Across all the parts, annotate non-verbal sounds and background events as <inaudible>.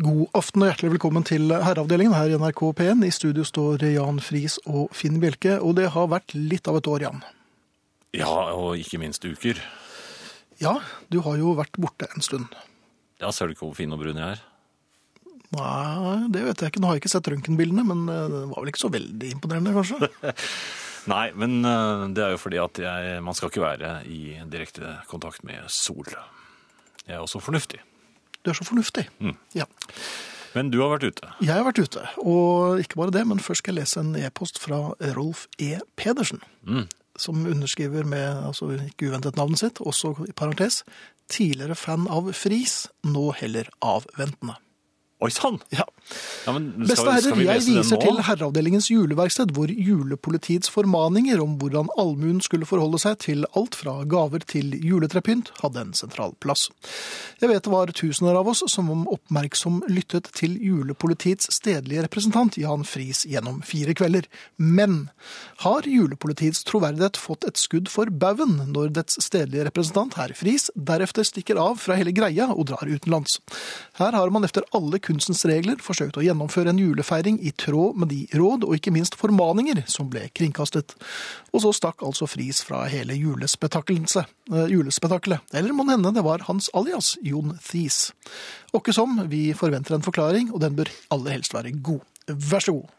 God aften og hjertelig velkommen til Herreavdelingen her i NRK P1. I studio står Jan Friis og Finn Bjelke, og det har vært litt av et år, Jan. Ja, og ikke minst uker. Ja, du har jo vært borte en stund. Ja, Ser du ikke hvor fin og brun jeg er? Nei, det vet jeg ikke. Nå har jeg ikke sett røntgenbildene, men eh, det var vel ikke så veldig imponerende, <laughs> kanskje? Nei, men eh, det er jo fordi at jeg, man skal ikke være i direkte kontakt med sol. Jeg er også fornuftig. Du er så fornuftig. Ja. Men du har vært ute. Jeg har vært ute, og ikke bare det, men først skal jeg lese en e-post fra Rolf E. Pedersen, som underskriver med, altså ikke uventet navnet sitt, også i parentes, tidligere fan av Friis, nå heller avventende. Oi sann! Ja. Ja, men skal, Beste herrer, skal vi jeg lese den viser nå? til Herreavdelingens juleverksted, hvor julepolitiets formaninger om hvordan allmuen skulle forholde seg til alt fra gaver til juletrepynt, hadde en sentral plass. Jeg vet det var tusener av oss som oppmerksom lyttet til julepolitiets stedlige representant Jan Friis gjennom fire kvelder. Men har julepolitiets troverdighet fått et skudd for baugen når dets stedlige representant, herr Friis, deretter stikker av fra hele greia og drar utenlands? Her har man efter alle kunstens regler forsøkt å gjennomføre en julefeiring i tråd med de råd og ikke minst formaninger som ble kringkastet. Og så stakk altså Friis fra hele julespetakkelset. eh, julespetakkelet. Eller må hende det var hans alias, Jon Thies. Åkke som, vi forventer en forklaring, og den bør aller helst være god. Vær så god.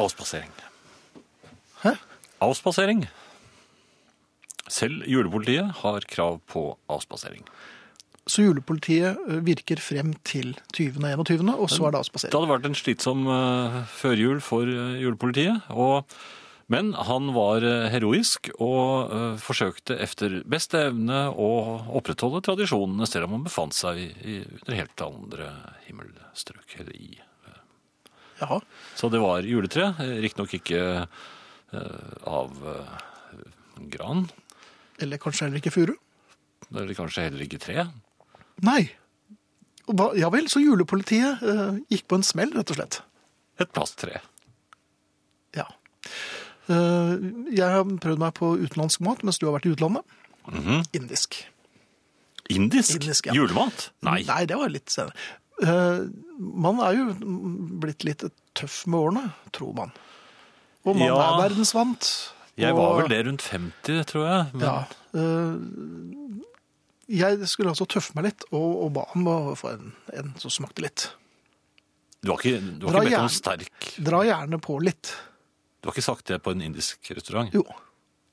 Avspasering. Hæ? Avspasering. Selv julepolitiet har krav på avspasering. Så julepolitiet eh, virker frem til 20. og 21., og så er det Det avspasering. hadde vært en slitsom eh, førjul for eh, julepolitiet. Og, men han var eh, heroisk og eh, forsøkte efter beste evne å opprettholde tradisjonene selv om han befant seg i, i, under helt andre himmelstrøk. Eller i. Ja. Så det var juletre, eh, riktignok ikke eh, av eh, gran. Eller kanskje heller ikke furu. Eller kanskje heller ikke tre. Nei. Og Hva, ja vel, så julepolitiet eh, gikk på en smell, rett og slett. Et plasttre. Ja. Eh, jeg har prøvd meg på utenlandsk mat mens du har vært i utlandet. Mhm. Indisk. Indisk? Indisk, ja. Julemat? Nei. Nei, det var litt senere. Eh, man er jo blitt litt tøff med årene, tror man. Og man Ja. er verdensvant. Jeg og- var vel det rundt 50, tror jeg. Men, Ja. eh, jeg skulle altså tøffe meg litt, og, og ba om å få en, en som smakte litt. Du har ikke, du har Dra ikke bedt om gjerne- sterk Dra gjerne på litt. Du har ikke sagt det på en indisk restaurant? Jo.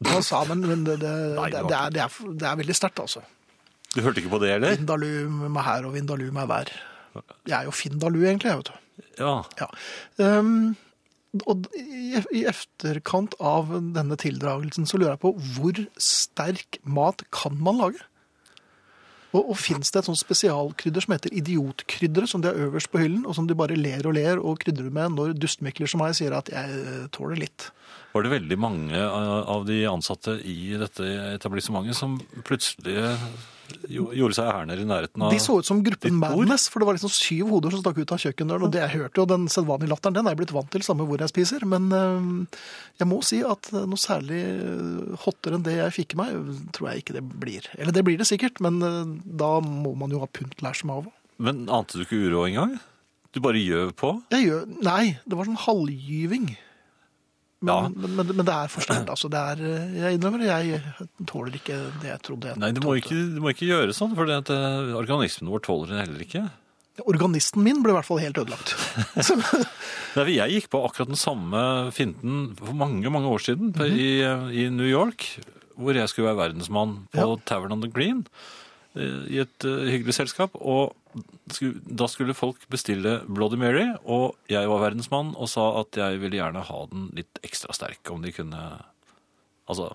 Han sa, men, men det, det, Nei, det det, var det, er, det, er, det er veldig sterkt, altså. Du hørte ikke på det heller? Vindalum er her, og Vindalum er hver. Jeg er jo Findalu, egentlig, jeg, vet du. Ja. Ja. Ehm, og i, i efterkant av denne tildragelsen så lurer jeg på hvor sterk mat kan man lage? Og, og fins det et sånt spesialkrydder som heter idiotkrydderet, som de har øverst på hyllen, og som de bare ler og ler og krydrer med når dustmikler som meg sier at jeg eh, tåler litt? Var det veldig mange eh, av de ansatte i dette etablissementet som plutselig jo- gjorde seg ærender i nærheten av De så ut som Ditt gruppen bord? Madness, for det var liksom syv hoder som stakk ut av kjøkkendøren. Og det jeg hørte jo, den sedvanlige latteren, den er jeg blitt vant til, samme hvor jeg spiser. Men eh, jeg må si at noe særlig eh, hottere enn det jeg fikk i meg, tror jeg ikke det blir. Eller det blir det sikkert, men eh, da må man jo ha puntlær som av. Men ante du ikke uro engang? Du bare gjøv på? Jeg gjør Nei, det var sånn halvgyving. Men, Ja. men, men, men det er for sterkt, altså. Det er, eh, jeg innrømmer det, jeg tåler ikke det jeg trodde jeg Nei, du må ikke, du må ikke gjøre sånn, for det at, eh, organismen vår tåler det heller ikke. Organisten min ble i hvert fall helt <laughs> ødelagt. <laughs> Så- Nei, Jeg gikk på akkurat den samme finten for mange mange år siden Mhm. i, i New York. Hvor jeg skulle være verdensmann på Ja. Tavern on the Green eh, i et eh, hyggelig selskap. Og sku- da skulle folk bestille Bloody Mary, og jeg var verdensmann og sa at jeg ville gjerne ha den litt ekstra sterk, om de kunne Altså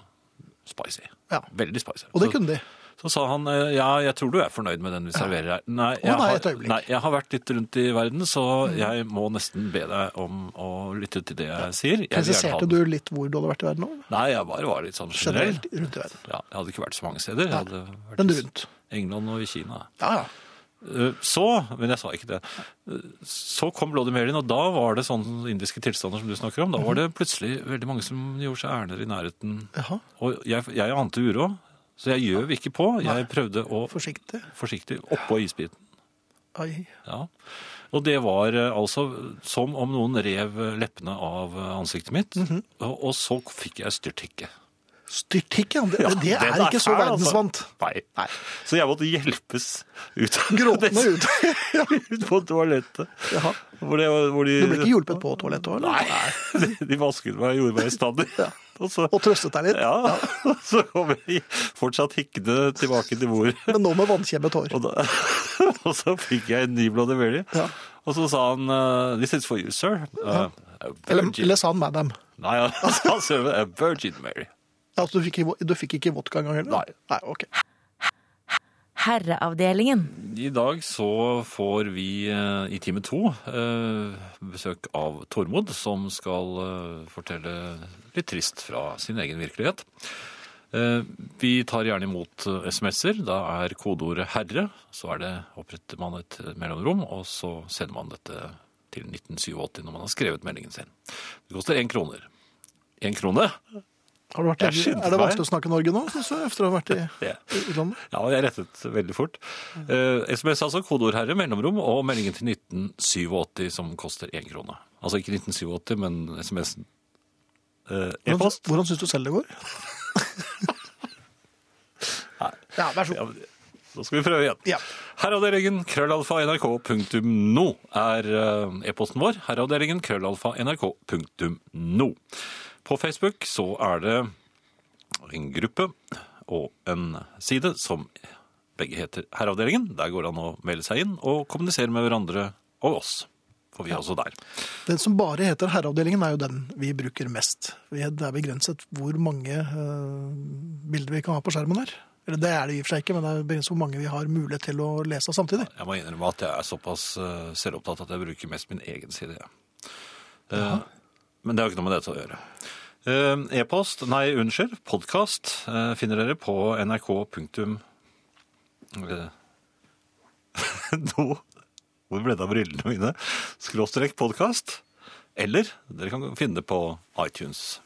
spicy. Ja. Veldig spicy. og det Så- kunne de. så sa han eh, ja, jeg tror du er fornøyd med den vi serverer her. Nei, jeg, nei, har, et øyeblikk. Mm. nei, jeg har vært litt rundt i verden, så jeg må nesten be deg om å lytte til det jeg sier. Jeg vil gjerne ha Presiserte den. du litt hvor du hadde vært i verden nå? Nei, jeg bare var litt sånn generell. Generelt rundt i verden. Ja, jeg hadde ikke vært så mange steder. Jeg hadde vært Men i rundt. England og i Kina. Ja, ja. Eh, Så, men jeg sa ikke det, Eh, så kom Bloody Mary, og da var det sånne indiske tilstander som du snakker om. Da var Mhm. det plutselig veldig mange som gjorde seg ærender i nærheten. Jaha, Og jeg, jeg ante uro, så jeg gjøv ikke på. Jeg prøvde å forsiktig. forsiktig oppå isbiten. ai. Ja. Og det var eh, altså som om noen rev eh, leppene av eh, ansiktet mitt, Mhm. og, og så fikk jeg styrthikke. Styrthikke, ja. det, det den er ikke så fæl, altså. verdensvant. Nei. Nei. Så jeg måtte hjelpes ut av Gråtende <laughs> ut. Ja, ut på toalettet. Jaha. Hvor det, hvor de, Du ble ikke hjulpet på toalettet òg, eller? Nei, <laughs> de- de vasket meg og gjorde meg i stand. Og så, Og trøstet deg litt? ja, <laughs> så kom jeg fortsatt hikkende tilbake til bordet. Men nå med vannkjemmet hår. Og, da, <laughs> og så fikk jeg en ny Bloody Mary. Ja. Og så sa han eh, This is for you, sir. Eh, a Eller, virgin. eller sa han madam? Nei, han <laughs> sa sir, a virgin Mary. Altså, du, fikk, ikke- du fikk ikke vodka engang? eller? Nei. Nei, ok. Herreavdelingen. I dag så får vi eh, i time to eh, besøk av Tormod, som skal eh, fortelle litt trist fra sin egen virkelighet. Eh, Vi tar gjerne imot eh, SMS-er. Da er kodeordet 'herre'. Så er det, oppretter man et eh, mellomrom, og så sender man dette til 1987 når man har skrevet meldingen sin. Det koster én kroner. Én krone? Har du vært Jeg i, skyndte er det meg. vanskelig å snakke Norge nå, synes du, etter å ha vært i Det. i utlandet? Ja, jeg rettet veldig fort. Eh, SMS altså, kodeord herre, mellomrom, og meldingen til 1987 som koster én krone. Altså ikke 1987, men SMS-en. Eh, Hvordan- E-post? Hvordan syns du selv det går? Ja, vær så Ja, god. men Nå skal vi prøve igjen. Ja. Herreavdelingen krøllalfa nrk.no er eh, e-posten vår. Herreavdelingen krøllalfa nrk.no. På Facebook så er det en gruppe og en side som begge heter Herreavdelingen. Der går det an å melde seg inn og kommunisere med hverandre og oss. For vi er også der. Den som bare heter Herreavdelingen, er jo den vi bruker mest. Vi- Det er begrenset hvor mange eh, bilder vi kan ha på skjermen her. Eller det er det i og for seg ikke, men det er begrenset hvor mange vi har mulighet til å lese av samtidig. Jeg må innrømme at jeg er såpass eh, selvopptatt at jeg bruker mest min egen side. jeg. Eh, Men det har ikke noe med dette å gjøre. Eh, E-post, nei, unnskyld, podkast eh, finner dere på nrk. punktum, eh, <laughs> Nå Hvor ble det av brillene mine? Skråstrek podkast. Eller dere kan finne det på iTunes.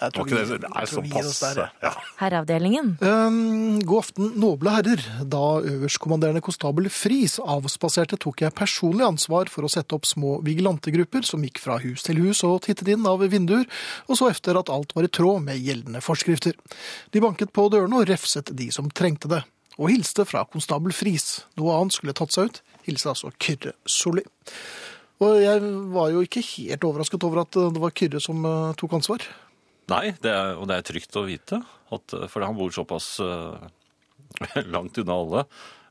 Jeg Var tror ikke vi- det, det er jeg tror vi gir oss såpass. der, ja. Ja. Herreavdelingen. Um, god aften, noble herrer. Da øverstkommanderende konstabel Friis avspaserte, tok jeg personlig ansvar for å sette opp små vigilantegrupper som gikk fra hus til hus og tittet inn av vinduer, og så efter at alt var i tråd med gjeldende forskrifter. De banket på dørene og refset de som trengte det, og hilste fra konstabel Friis. Noe annet skulle tatt seg ut. Hilse altså Kyrre Solli. Og jeg var jo ikke helt overrasket over at eh, det var Kyrre som eh, tok ansvar. Nei, det er, og det er trygt å vite, at, for han bor såpass eh, <laughs> langt unna alle,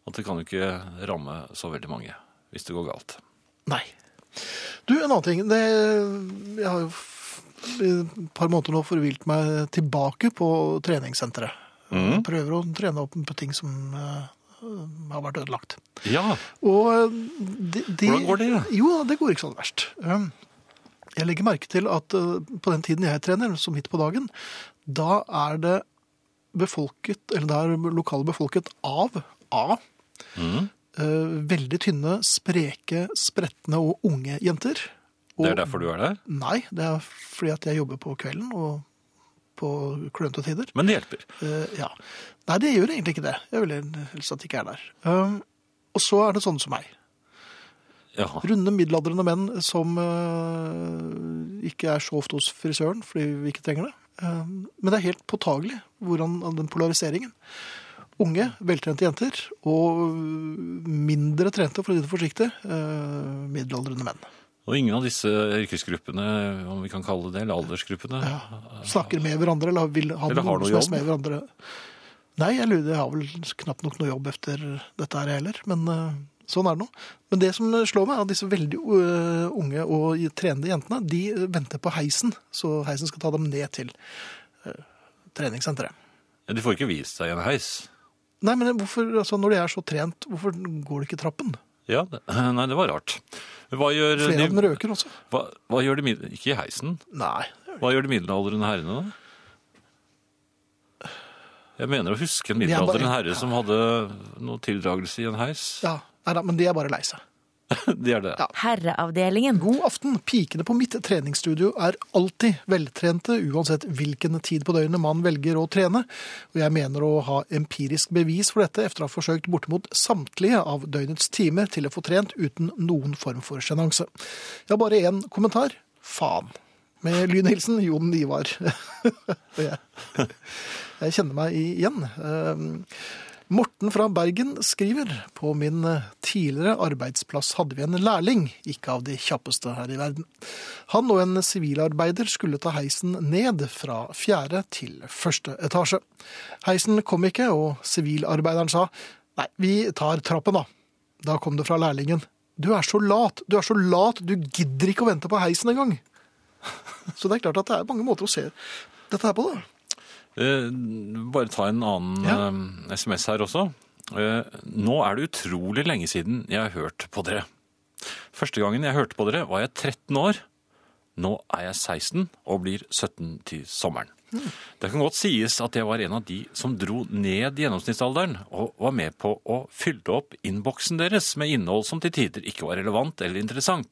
at det kan jo ikke ramme så veldig mange hvis det går galt. Nei. Du, en annen ting. Det, jeg har jo f- i et par måneder nå forvilt meg tilbake på treningssenteret. Prøver å trene opp på ting som eh, har vært ødelagt. Ja, Og eh, de, de, Hvordan går det? Jo, det går ikke så verst. Um, Jeg legger merke til at eh, på den tiden jeg trener, som midt på dagen, da er det befolket, eller da er lokalet befolket av A. Mm. eh, veldig tynne, spreke, spretne og unge jenter. Og, det er derfor du er der. Nei, det er fordi at jeg jobber på kvelden og på klønete tider. Men det hjelper. Eh, ja. Nei, det gjør egentlig ikke det. Jeg vil helst at de ikke er der. Um, og så er det sånne som meg. Ja, Runde, middelaldrende menn som eh, ikke er så ofte hos frisøren fordi vi ikke trenger det. Eh, men det er helt påtagelig hvordan den polariseringen. Unge, veltrente jenter og eh, mindre trente, for å si det forsiktig, eh, middelaldrende menn. og ingen av disse yrkesgruppene, om vi kan kalle det, eller aldersgruppene, Snakker med hverandre eller vil ha Eller har noe noe som helst jobb? med hverandre. Nei, jeg lurer, jeg har vel knapt nok noe jobb etter dette her heller, men eh, sånn er det nå. Men det som slår meg er at disse veldig eh, unge og trenende jentene, de venter på heisen, så heisen skal ta dem ned til eh, treningssenteret. de får ikke vist seg i en heis. Nei, men hvorfor, altså, når de er så trent, hvorfor går de ikke trappen? Ja, det, nei, det var rart. Hva gjør Flere av dem de, røker også. hva, hva gjør de, mid- ikke i heisen, Nei, hva gjør de middelaldrende herrene da? Jeg mener å huske en er bare- middelaldrende herre som hadde noe tildragelse i en heis. ja, nei, da, men de er bare lei seg. <laughs> De er det. Ja. Herreavdelingen. God aften. Pikene på mitt treningsstudio er alltid veltrente, uansett hvilken tid på døgnet man velger å trene. Og jeg mener å ha empirisk bevis for dette etter å ha forsøkt bortimot samtlige av døgnets timer til å få trent uten noen form for sjenanse. Jeg har bare én kommentar. Faen. Med lynhilsen Jon Ivar. <laughs> Og jeg, jeg kjenner meg igjen. Ehm, Morten fra Bergen skriver på min eh, tidligere arbeidsplass hadde vi en lærling, ikke av de kjappeste her i verden. Han og en sivilarbeider skulle ta heisen ned fra fjerde til første etasje. Heisen kom ikke, og sivilarbeideren sa nei, vi tar trappen da. Da kom det fra lærlingen. Du er så lat, du er så lat, du gidder ikke å vente på heisen engang. <laughs> Så det er klart at det er mange måter å se dette her på, da. Eh, Bare ta en annen eh, SMS her også. Eh, Nå er det utrolig lenge siden jeg har hørt på dere. Første gangen jeg hørte på dere, var jeg 13 år. Nå er jeg 16 og blir 17 til sommeren. Det kan godt sies at jeg var en av de som dro ned gjennomsnittsalderen og var med på å fylle opp innboksen deres med innhold som til tider ikke var relevant eller interessant.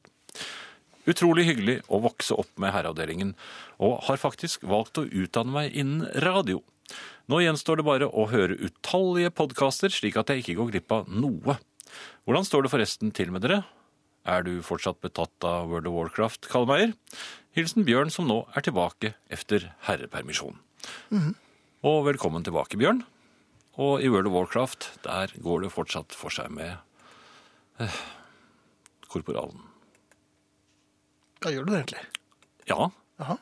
Utrolig hyggelig å vokse opp med herreavdelingen, og har faktisk valgt å utdanne meg innen radio. Nå gjenstår det bare å høre utallige podkaster, slik at jeg ikke går glipp av noe. Hvordan står det forresten til med dere? Er du fortsatt betatt av World of Warcraft, Kalmeier? Hilsen Bjørn, som nå er tilbake efter herrepermisjon. Og velkommen tilbake, Bjørn. Og i World of Warcraft, der går det fortsatt for seg med eh, korporalen. Ja, gjør du det egentlig? Ja, Jaha.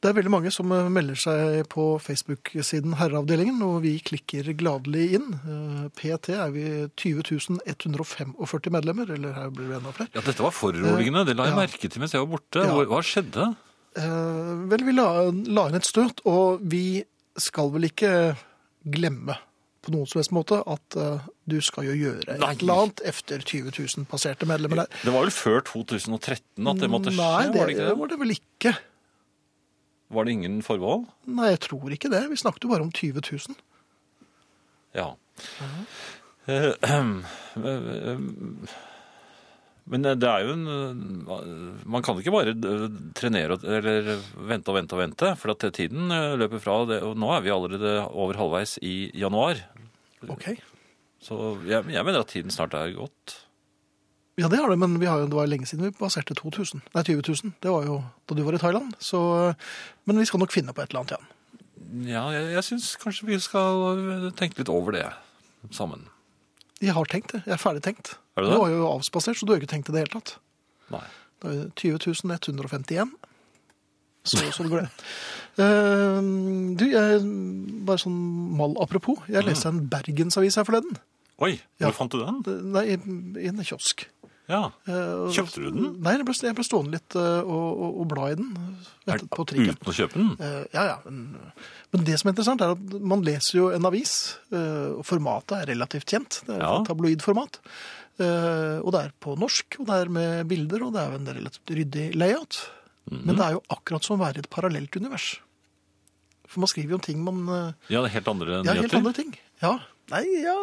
Det er veldig mange som eh, melder seg på Facebook-siden Herreavdelingen, og vi klikker gladelig inn. Eh, PT er vi 20 145 medlemmer, eller her blir det enda flere. Ja, dette var foruroligende. Det la jeg Ja. merke til mens jeg var borte. Ja. Hva- Hva skjedde? Eh, Vel, vi la, la inn et støt, og vi skal vel ikke glemme på noen som helst måte at eh, du skal jo gjøre Nei. et eller annet efter 20 000 passerte medlemmer der. Det var vel før 2013 at det måtte skje? Nei, det var, det ikke det? var det vel ikke. var det ingen forbehold? Nei, jeg tror ikke det. Vi snakket jo bare om 20 000. Ja. Eh, eh, Men det er jo en eh, Man kan ikke bare eh, trenere og- eller vente og vente og vente, for at tiden eh, løper fra. Det, og nå er vi allerede over halvveis i januar. Ok. Så jeg, jeg mener at tiden snart er gått. Ja, det har det, men vi har jo, det var jo lenge siden vi passerte 2000. Nei, 20 000. Det var jo da du var i Thailand. Så, men vi skal nok finne på et eller annet igjen. Ja, jeg, jeg syns kanskje vi skal tenke litt over det sammen. Jeg har tenkt det. Jeg er ferdig tenkt. Er du Du det? har jo avspasert, så du har jo ikke tenkt det i det hele tatt. Nei. Da er det 20 151. Så, så det går <laughs> det. Eh, du, jeg, bare sånn mal apropos. Mm. Jeg leste en Bergensavis her forleden. Oi, Ja. hvor fant du den? Det- Nei, i, i en kiosk. Ja. Eh, og- Kjøpte du den? Nei, jeg ble, jeg ble stående litt eh, og, og, og bla i den. Er, Ventet på trikken. uten å kjøpe den? Eh, ja, ja. Men, men det som er interessant, er at man leser jo en avis, eh, og formatet er relativt kjent. Det er Ja. et tabloidformat. Eh, og det er på norsk, og det er med bilder, og det er jo en relativt ryddig layout. Mhm. Men det er jo akkurat som å være i et parallelt univers. For man skriver jo om ting man eh, Ja, det er helt andre Ja, helt nyheter. andre ting. Ja. Nei, ja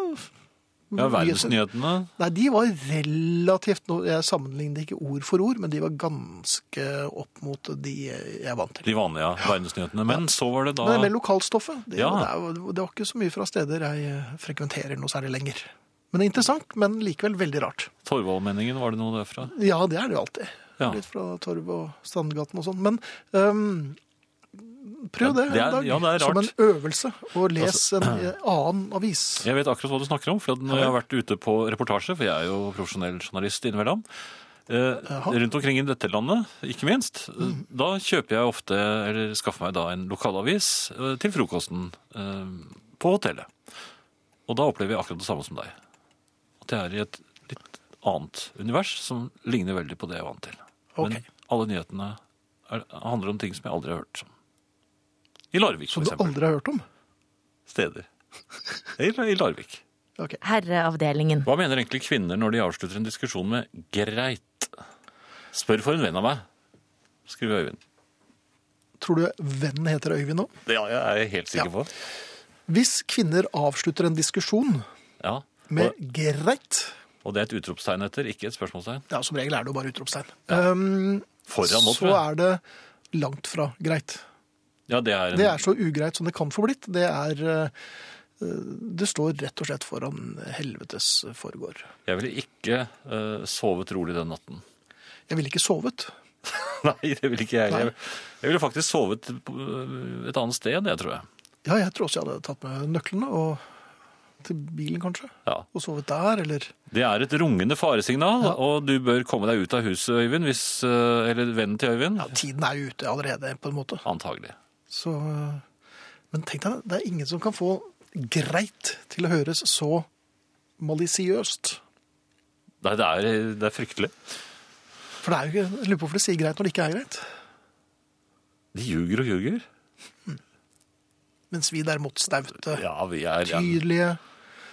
Ja, Verdensnyhetene. Nei, de var relativt nå- Jeg sammenlignet ikke ord for ord, men de var ganske opp mot de jeg er vant til. De vanlige verdensnyhetene. Men så var det da Men det med lokalstoffet, det, Ja. det, er, jo- det var ikke så mye fra steder jeg eh, frekventerer noe særlig lenger. Men det er interessant, men likevel veldig rart. Torvaldmenningen, var det noe derfra? Ja, det er det jo alltid. Ja. Litt fra Torv og Strandgaten og sånn. Men ehm, prøv det, Ja, det er- en dag, ja, det er som rart. Altså- en øvelse, og les en eh, annen avis. Jeg vet akkurat hva du snakker om, for at når jeg har vært ute på reportasje, for jeg er jo profesjonell journalist innimellom, eh, rundt omkring i dette landet, ikke minst, eh, da kjøper jeg ofte, eller skaffer meg da en lokalavis eh, til frokosten eh, på hotellet. Og da opplever jeg akkurat det samme som deg. At jeg er i et litt annet univers som ligner veldig på det jeg er vant til. Ok. Men alle nyhetene er, handler om ting som jeg aldri har hørt om. I Larvik, Som for du eksempel. aldri har hørt om. Steder. <laughs> I I Larvik. Ok. Herreavdelingen. Hva mener egentlig kvinner når de avslutter en diskusjon med 'greit'? Spør for en venn av meg, skriver Øyvind. Tror du vennen heter Øyvind nå? Det er jeg helt sikker på. Hvis kvinner avslutter en diskusjon Ja. med 'greit', Og det er et utropstegn etter, ikke et spørsmålstegn. Ja, Som regel er det jo bare utropstegn. Um, Foran nå, så tror jeg. er det langt fra greit. Ja, det er en, Det er så ugreit som det kan få blitt. Det er eh, Det står rett og slett foran helvetes foregår. Jeg ville ikke eh, sovet rolig den natten. <laughs> Jeg ville ikke sovet. Nei, det ville ikke jeg. Nei. Jeg, jeg ville faktisk sovet på eh, et annet sted, jeg tror jeg. Ja, jeg tror også jeg hadde tatt med nøklene og til bilen, kanskje. Ja. Og sovet der, eller Det er et rungende faresignal, og du bør komme deg ut av huset, Øyvind, hvis, eh, eller vennen til Øyvind. Ja, tiden er jo ute allerede, på en måte. Antagelig. Så eh, Men tenk deg, det er ingen som kan få greit til å høres så malisiøst. Nei, det er, det er fryktelig. For det er jo ikke Jeg lurer på hvorfor de sier greit når det ikke er greit. De ljuger og ljuger. Mens Mens vi derimot staute, Ja, vi er, ja. tydelige,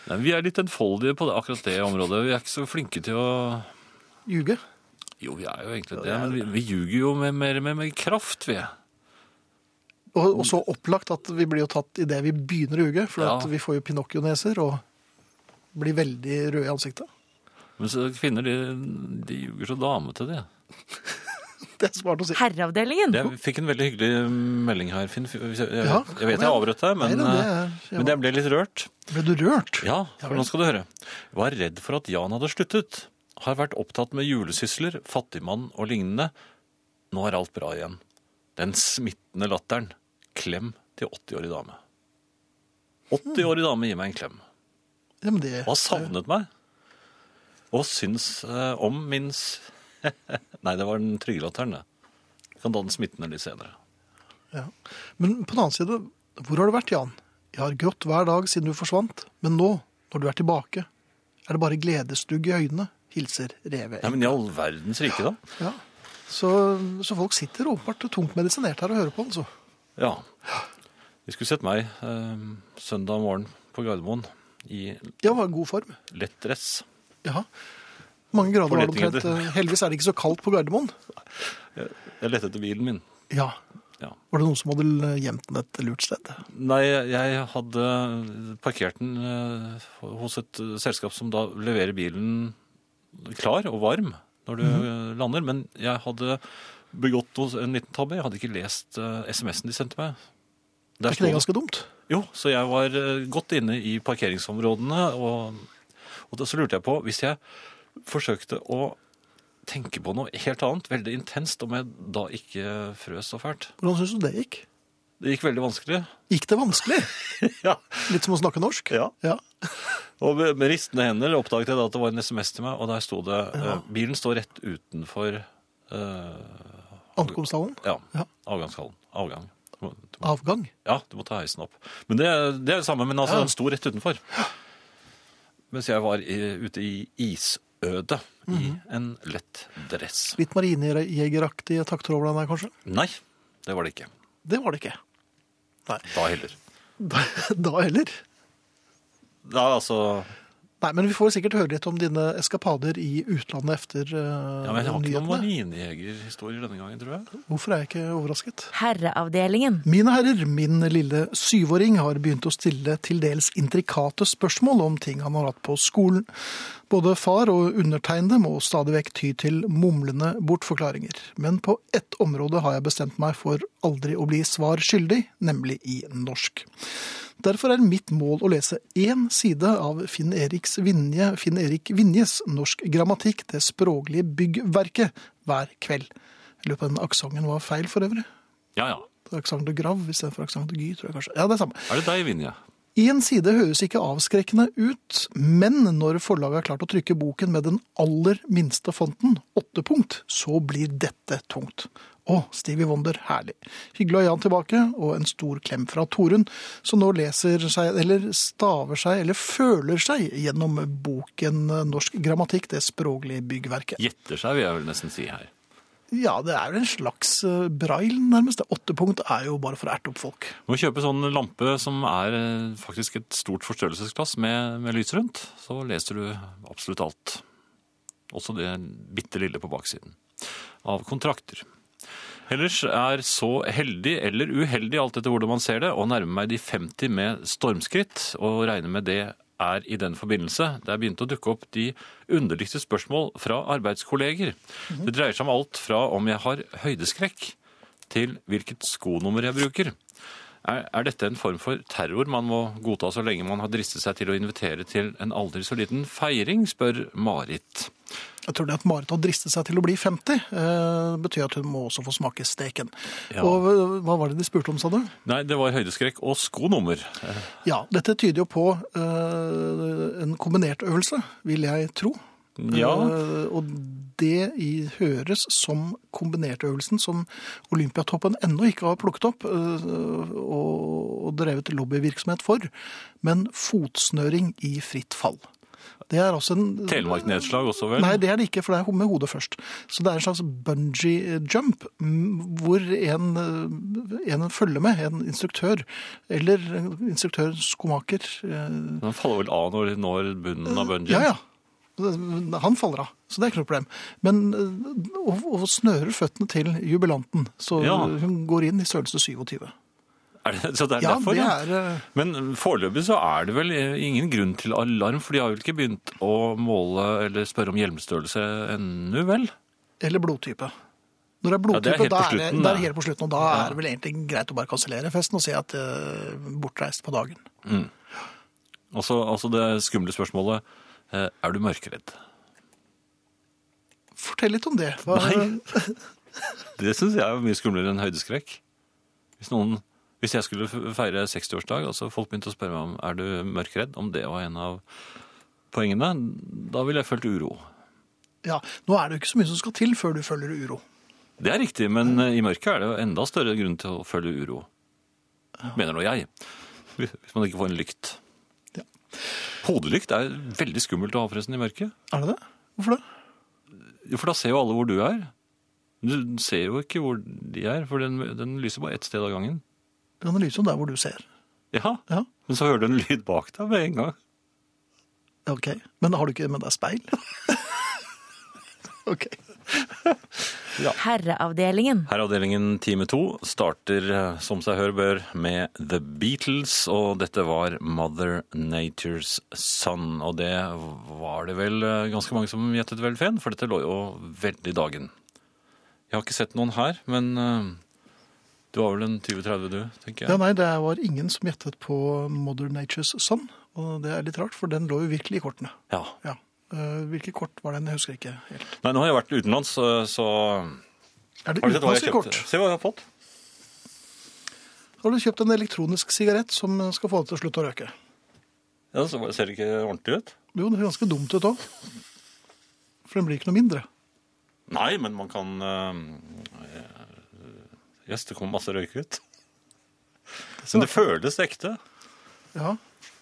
Nei, vi er litt enfoldige på det, akkurat det området. Vi er ikke så flinke til å ljuge. Jo, vi er jo egentlig det, men vi, vi ljuger jo med mer med, med kraft, vi. Og, og så opplagt at vi blir jo tatt idet vi begynner å ljuge, for Ja. at vi får jo pinocchioneser og blir veldig røde i ansiktet. <laughs> Men så kvinner, de, de ljuger så damete, de. Det er smart å si. Herreavdelingen. Jeg fikk en veldig hyggelig melding her, Finn. Jeg, jeg, Ja, jeg, kom vet jeg igjen. avbrøt deg, men, Nei, det er- eh, men jeg ble litt rørt. Ble du rørt? Ja, for vel. nå skal du høre. Var redd for at Jan hadde sluttet. Har vært opptatt med julesysler, fattigmann og lignende. Nå er alt bra igjen. Den smittende latteren. Klem til 80-årig dame. 80-årig dame gir meg en klem. Ja, men det, Og har savnet meg. Og syns eh, om min s- <laughs> Nei, det var den trygge latteren, det. Jeg Kan ta den smittende litt senere. ja. Men på den annen side, hvor har du vært, Jan? Jeg har grått hver dag siden du forsvant, men nå, når du er tilbake, er det bare gledesdugg i øynene, hilser Reve. Nei, men i all verdens rike, da. Ja. Så, så folk sitter åpenbart tungt medisinert her og hører på, altså. Ja. De skulle sett meg eh, søndag morgen på Gardermoen i Ja, var i god form. lett dress. Ja. Mange grader var det Forletninger. omtrent. eh, Heldigvis er det ikke så kaldt på Gardermoen. Jeg lette etter bilen min. Ja. Ja. Var det noen som hadde eh, gjemt den et lurt sted? Nei, jeg hadde parkert den eh, hos et eh, selskap som da leverer bilen klar og varm når du eh, lander, men jeg hadde begått hos- en liten tabbe. Jeg hadde ikke lest eh, SMS-en de sendte meg. Der Er ikke det sto det- ganske dumt? Jo, så jeg var eh, godt inne i parkeringsområdene, og, og da så lurte jeg på, hvis jeg forsøkte å tenke på noe helt annet, veldig intenst, om jeg da ikke frøs så fælt. Hvordan syns du det gikk? Det gikk veldig vanskelig. Gikk det vanskelig? Ja. Litt som å snakke norsk? Ja. ja. Og med, med ristende hender oppdaget jeg da at det var en sms til meg, og der sto det, eh, bilen står rett utenfor, eh, Ankomsthallen? ja, Ja. avgangshallen, avgang. Du må- du må- Avgang? Ja, du må ta heisen opp. Men det, det er det samme, men altså, Ja. den sto rett utenfor. Mens jeg var i, ute i isødet i en lett dress. Litt marinejegeraktige takter over den der, kanskje? Nei, det var det ikke. Det var det ikke. Da heller. Da, da <laughs> heller. Da, altså, Nei, men vi får sikkert høre litt om dine eskapader i utlandet efter eh, ja, men jeg har ikke noen nyhetene. marinejegerhistorier denne gangen, tror jeg. Hvorfor er jeg ikke overrasket? Herreavdelingen. Mine herrer, min lille syvåring har begynt å stille til dels intrikate spørsmål om ting han har hatt på skolen. Både far og undertegnede må stadig vekk ty til mumlende bortforklaringer. Men på ett område har jeg bestemt meg for aldri å bli svar skyldig, nemlig i norsk. Derfor er mitt mål å lese én side av Finn-Eriks Vinje, Finn-Erik Vinjes Norsk grammatikk, det språklige byggverket, hver kveld. Jeg lurer på om den aksenten var feil for øvrig. Ja, ja. Aksent de grav istedenfor aksent de gy, tror jeg kanskje. Ja, det er samme. Er det deg, Vinje? Én side høres ikke avskrekkende ut, men når forlaget har klart å trykke boken med den aller minste fonten, åtte punkt, så blir dette tungt. Å, Stevie Wonder, herlig. Hyggelig å ha Jan tilbake, og en stor klem fra Torunn, som nå leser seg, eller staver seg, eller føler seg gjennom boken eh, Norsk grammatikk, det språklige byggverket. Gjetter seg, vil jeg vel nesten si her. Ja, det er jo en slags eh, braille, nærmest. Åtte punkt er jo bare for å erte opp folk. Du må kjøpe sånn lampe som er eh, faktisk et stort forstørrelsesglass med, med lys rundt. Så leser du absolutt alt. Også det bitte lille på baksiden av kontrakter. Ellers er så heldig eller uheldig, alt etter hvordan man ser det, å nærme meg de 50 med stormskritt, og regne med det er i den forbindelse. Det er begynt å dukke opp de underligste spørsmål fra arbeidskolleger. Det dreier seg om alt fra om jeg har høydeskrekk, til hvilket skonummer jeg bruker. Er, er dette en form for terror man må godta så lenge man har dristet seg til å invitere til en aldri så liten feiring, spør Marit. Jeg tror det at Marit har dristet seg til å bli 50, eh, betyr at hun må også få smake steken. Ja. Og eh, hva var det de spurte om, sa du? Nei, det var høydeskrekk og skonummer. Ja, dette tyder jo på eh, en kombinert øvelse, vil jeg tro. Ja. Eh, og det i, høres som kombinertøvelsen som Olympiatoppen ennå ikke har plukket opp eh, og, og drevet lobbyvirksomhet for, men fotsnøring i fritt fall. Det er altså en Telemark-nedslag også, vel? Nei, det er det ikke, for det er med hodet først. Så det er en slags bungee eh, jump, mm, hvor en, eh, en følger med, en instruktør, eller en instruktør skomaker. eh, Den faller vel av når de når bunnen av bungee? Ja, ja. Eh, Han faller av, så det er ikke noe problem. Men eh, og, og snører føttene til jubilanten, så Ja. hun går inn i størrelse 27. <laughs> Er det, så det er Ja, derfor, det ja. er eh, Men foreløpig så er det vel eh, ingen grunn til alarm, for de har vel ikke begynt å måle eller spørre om hjelmstørrelse ennå, vel? Eller blodtype. Når det er Ja, det er blodtype, helt da, på er det, slutten, da er da. det helt på slutten, og da Ja. er det vel egentlig greit å bare kansellere festen og si at eh, bortreist på dagen. Og så altså det skumle spørsmålet eh, Er du mørkeredd? Fortell litt om det. Hva, Nei. Det syns jeg er mye skumlere enn høydeskrekk. Hvis, noen, hvis jeg skulle f- feire 60-årsdag, og så folk begynte å spørre meg om er du mørkredd, om det var en av poengene, da ville jeg følt uro. Ja, nå er det jo ikke så mye som skal til før du føler uro. Det er riktig, men eh, i mørket er det jo enda større grunn til å føle uro. Mener nå jeg. Hvis hvis man ikke får en lykt. Ja. Hodelykt er veldig skummelt å ha forresten i mørket. Er det det? Hvorfor det? Jo, For da ser jo alle hvor du er. Du ser jo ikke hvor de er, for den, den lyser bare ett sted av gangen. Det kan lyse om der hvor du ser. Ja, Ja, men så hører du en lyd bak deg med en gang. ok. Men har du ikke med deg speil? <laughs> ok. Herreavdelingen. Herreavdelingen Time 2 starter eh, som seg hør bør med The Beatles, og dette var Mother Nature's Son. Og det var det vel eh, ganske mange som gjettet vel fen, for dette lå jo veldig i dagen. Jeg har ikke sett noen her, men eh, du var vel en 20-30 du, tenker Ja, jeg. nei, det var ingen som gjettet på Mother Nature's Son, og det er litt rart, for den lå jo virkelig i kortene. Ja. Ja. Eh, Hvilke kort var den? Jeg husker ikke helt. Nei, nå har jeg vært utenlands, så, så Er det Har du sett hva jeg utenlandske kjøpte? kort? Se hva jeg har fått. Har du kjøpt en elektronisk sigarett som skal få deg til å slutte å røyke? Ja, så ser det ikke ordentlig ut? Jo, det er ganske dumt ut òg. For den blir ikke noe mindre. Nei, men man kan eh, eh, Yes, det kommer masse røyk ut. Men det føles ekte. Ja.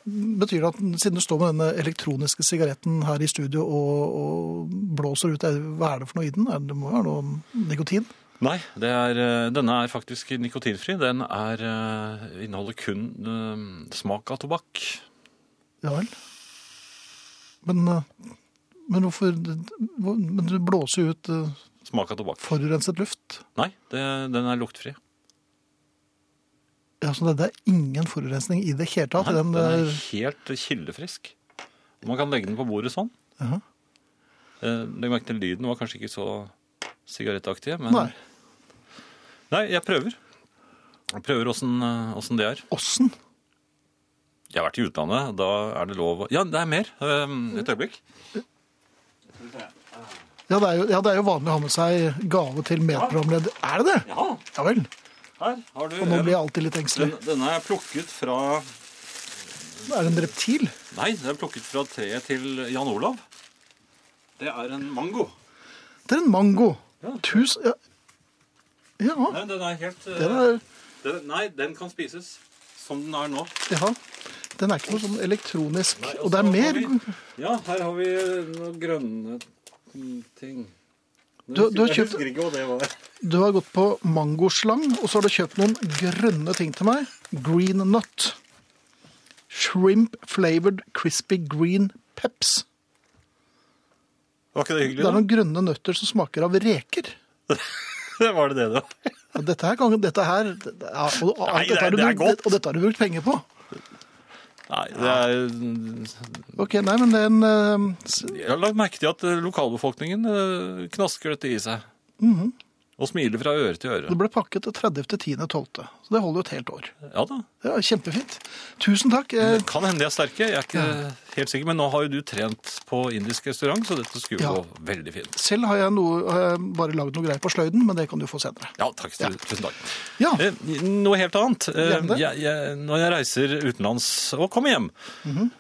Betyr det at den- siden du står med denne elektroniske sigaretten her i studio og, og blåser ut, er- hva er det for noe i den? Er det- Det må jo være noe nikotin? Nei, det er, eh, denne er faktisk nikotinfri. Den er, eh, inneholder kun eh, smak av tobakk. Ja vel. Men, eh, men hvorfor hvor- Men du blåser jo ut eh, Smak av tobakk. forurenset luft. Nei, det, den er luktfri. Ja, så det, det er ingen forurensning i det hele tatt? Nei, i den, den er eh, helt kildefrisk. Og Man kan legge den på bordet sånn. jaha. Eh, Legg merke til lyden var kanskje ikke så sigarettaktig. Men... Nei. Nei, jeg prøver. Jeg prøver åssen eh, åssen det er. Åssen? Jeg har vært i utlandet, da er det lov å Ja, det er mer. Eh, Et øyeblikk. Ja, det er jo, ja, det er jo vanlig å ha med seg gave til medprogramleder. Er det det? Ja, Ja vel. her har du Og nå blir jeg alltid litt engstelig. Den- Denne er plukket fra Er det en reptil? Nei, den er plukket fra treet til Jan Olav. Det er en mango. Det er en mango. Ja. Tusen ja. ja. Nei, den er helt eh, Den er, den- Nei, den kan spises som den er nå. ja. Den er ikke noe sånn elektronisk. Nei, Og det er så har mer vi- Ja, her har vi noen grønne mm, ting. Men Du- du har jeg kjøpt- husker ikke hva det var. Du har gått på mangoslang, og så har du kjøpt noen grønne ting til meg. Green nut. Shrimp flavored crispy green peps. Var ikke det Det er hyggelig? noen grønne nøtter som smaker av reker. Da? <laughs> Var det det, da? Ja, Dette her, kan, dette her det- ja, og, og, Nei, dette har du det- det er brukt- godt. og dette har du brukt penger på. Nei, det er, Ok, nei, men det er en eh, s- jeg har lagt merke til at eh, lokalbefolkningen eh, knasker dette i seg. Og smiler fra øre til øre. Det ble pakket 30.10.12., så det holder jo et helt år. Ja da. Ja, Kjempefint. Tusen takk. Eh, Det kan hende de er sterke, jeg er ikke helt sikker. Men nå har jo du trent på indisk restaurant, så dette skulle Ja. gå veldig fint. Selv har jeg, noe, har jeg bare lagd noe greier på sløyden, men det kan du få senere. Ja, takk. Tusen takk. Ja, Eh, Noe helt annet. Eh, Gjerne Ah. det. Jeg, jeg, når jeg reiser utenlands og kommer hjem,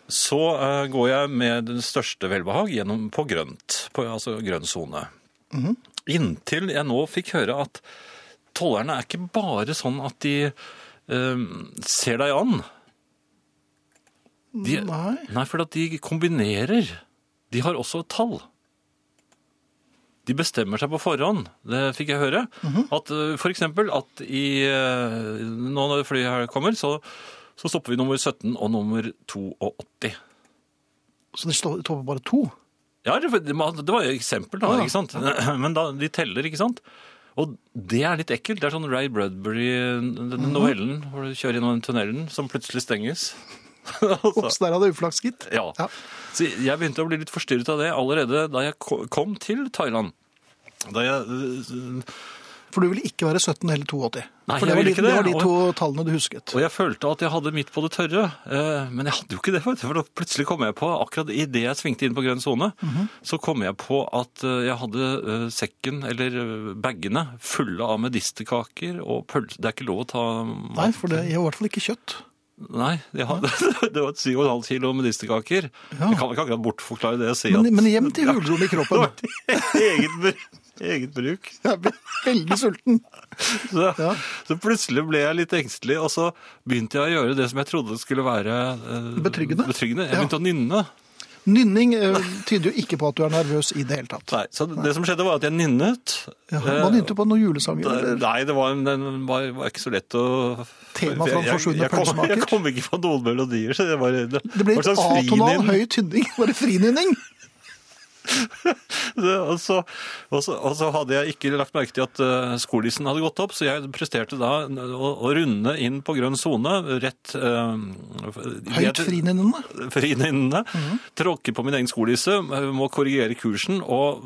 så eh, går jeg med den største velbehag gjennom på grønt, på, altså grønn sone. Inntil jeg nå fikk høre at tollerne er ikke bare sånn at de eh, ser deg an. De, nei. Nei, for at de kombinerer. De har også tall. De bestemmer seg på forhånd, det fikk jeg høre. At eh, for eksempel at i eh, Nå når flyet her kommer, så, så stopper vi nummer 17 og nummer 82. Så det står det står bare to? Ja, det det var jo et eksempel, da. Ja. ikke sant? <clears throat> Men da, de teller, ikke sant? Og det er litt ekkelt. Det er sånn Ray Bradbury-novellen hvor du kjører gjennom den tunnelen som plutselig stenges. <laughs> Altså, Ops, der hadde jeg uflaks, gitt. Ja. Ja. Så jeg begynte å bli litt forstyrret av det allerede da jeg ko- kom til Thailand. Da jeg øh, For du ville ikke være 17 eller 82. Nei, For det jeg var, ville de, ikke det var det, de to tallene du husket. Og jeg følte at jeg hadde midt på det tørre, eh, men jeg hadde jo ikke det. vet du, For da plutselig kom jeg på, akkurat idet jeg svingte inn på grønn sone, Mhm. så kom jeg på at eh, jeg hadde eh, sekken, eller eh, bagene, fulle av medisterkaker og pølse. Det er ikke lov å ta mat. Nei, for det er i hvert fall ikke kjøtt. Nei, jeg hadde, <laughs> det var 7,5 kilo medisterkaker. Jeg kan ikke akkurat bortforklare det og si at Men, men hjem til hulrommet i det kroppen. var <laughs> til eget, br- eget bruk. Jeg blir veldig sulten. Så, Ja. så plutselig ble jeg litt engstelig, og så begynte jeg å gjøre det som jeg trodde skulle være eh, Betryggende. Jeg Ja. begynte å nynne. Nynning eh, tyder jo ikke på at du er nervøs i det hele tatt. Nei, så det som skjedde var at jeg nynnet. Ja, Eh, man begynte på noen julesanger. det- Eller? Nei, det var, en- den var, var ikke så lett å Tema fra Jeg- jeg- Forsvunne jeg kom- pølsemaker. <laughs> Jeg kom ikke på noen melodier, så det var det, Det ble var litt en sånn slags atonal frinynn. høy tynning. Var det frinynning? Det- Og så, og, så, og så hadde jeg ikke lagt merke til at eh, skolissen hadde gått opp, så jeg presterte da å, å runde inn på grønn sone, rett eh, Høyt frinynnende. frinynnende, tråkker på min egen skolisse, må korrigere kursen og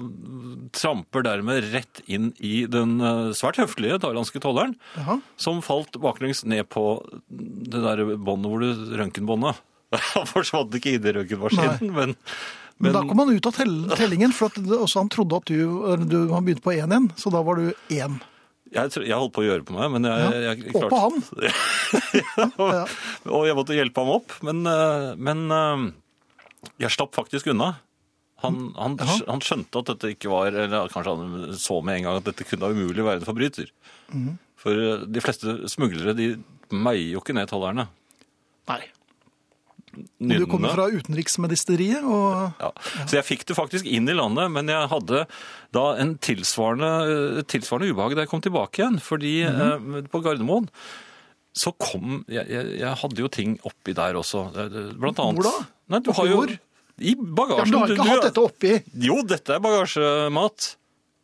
tramper dermed rett inn i den eh, svært høflige thailandske tolleren, Jaha. som falt baklengs ned på det der båndet hvor du røntgenbåndet. <laughs> Han forsvant ikke inn i røntgenmaskinen, men, Men da kom han ut av tell tellingen, for at det, også han trodde at du, eller du Han begynte på 1 igjen, så da var du 1. jeg, tror- jeg holdt på å gjøre på meg. Men jeg, jeg, jeg Og på han. <laughs> og, og jeg måtte hjelpe ham opp, men, eh, men eh, jeg slapp faktisk unna. Han, han, Jaha. han skjønte at dette ikke var Eller kanskje han så med en gang at dette kunne umulig være en forbryter. Mhm. For eh, de fleste smuglere de meier jo ikke ned tollerne. Nei. Du kommer fra utenriksministeriet, og Ja. Så jeg fikk det faktisk inn i landet, men jeg hadde da en tilsvarende, et tilsvarende ubehag da jeg kom tilbake igjen. Fordi Mhm. eh, på Gardermoen så kom jeg, jeg, jeg hadde jo ting oppi der også. Blant annet Hvor da? Nei, du Oppi har jo, hvor? I ja, bagasjen. men Du har Du- ikke du- hatt dette oppi Jo, dette er bagasjemat.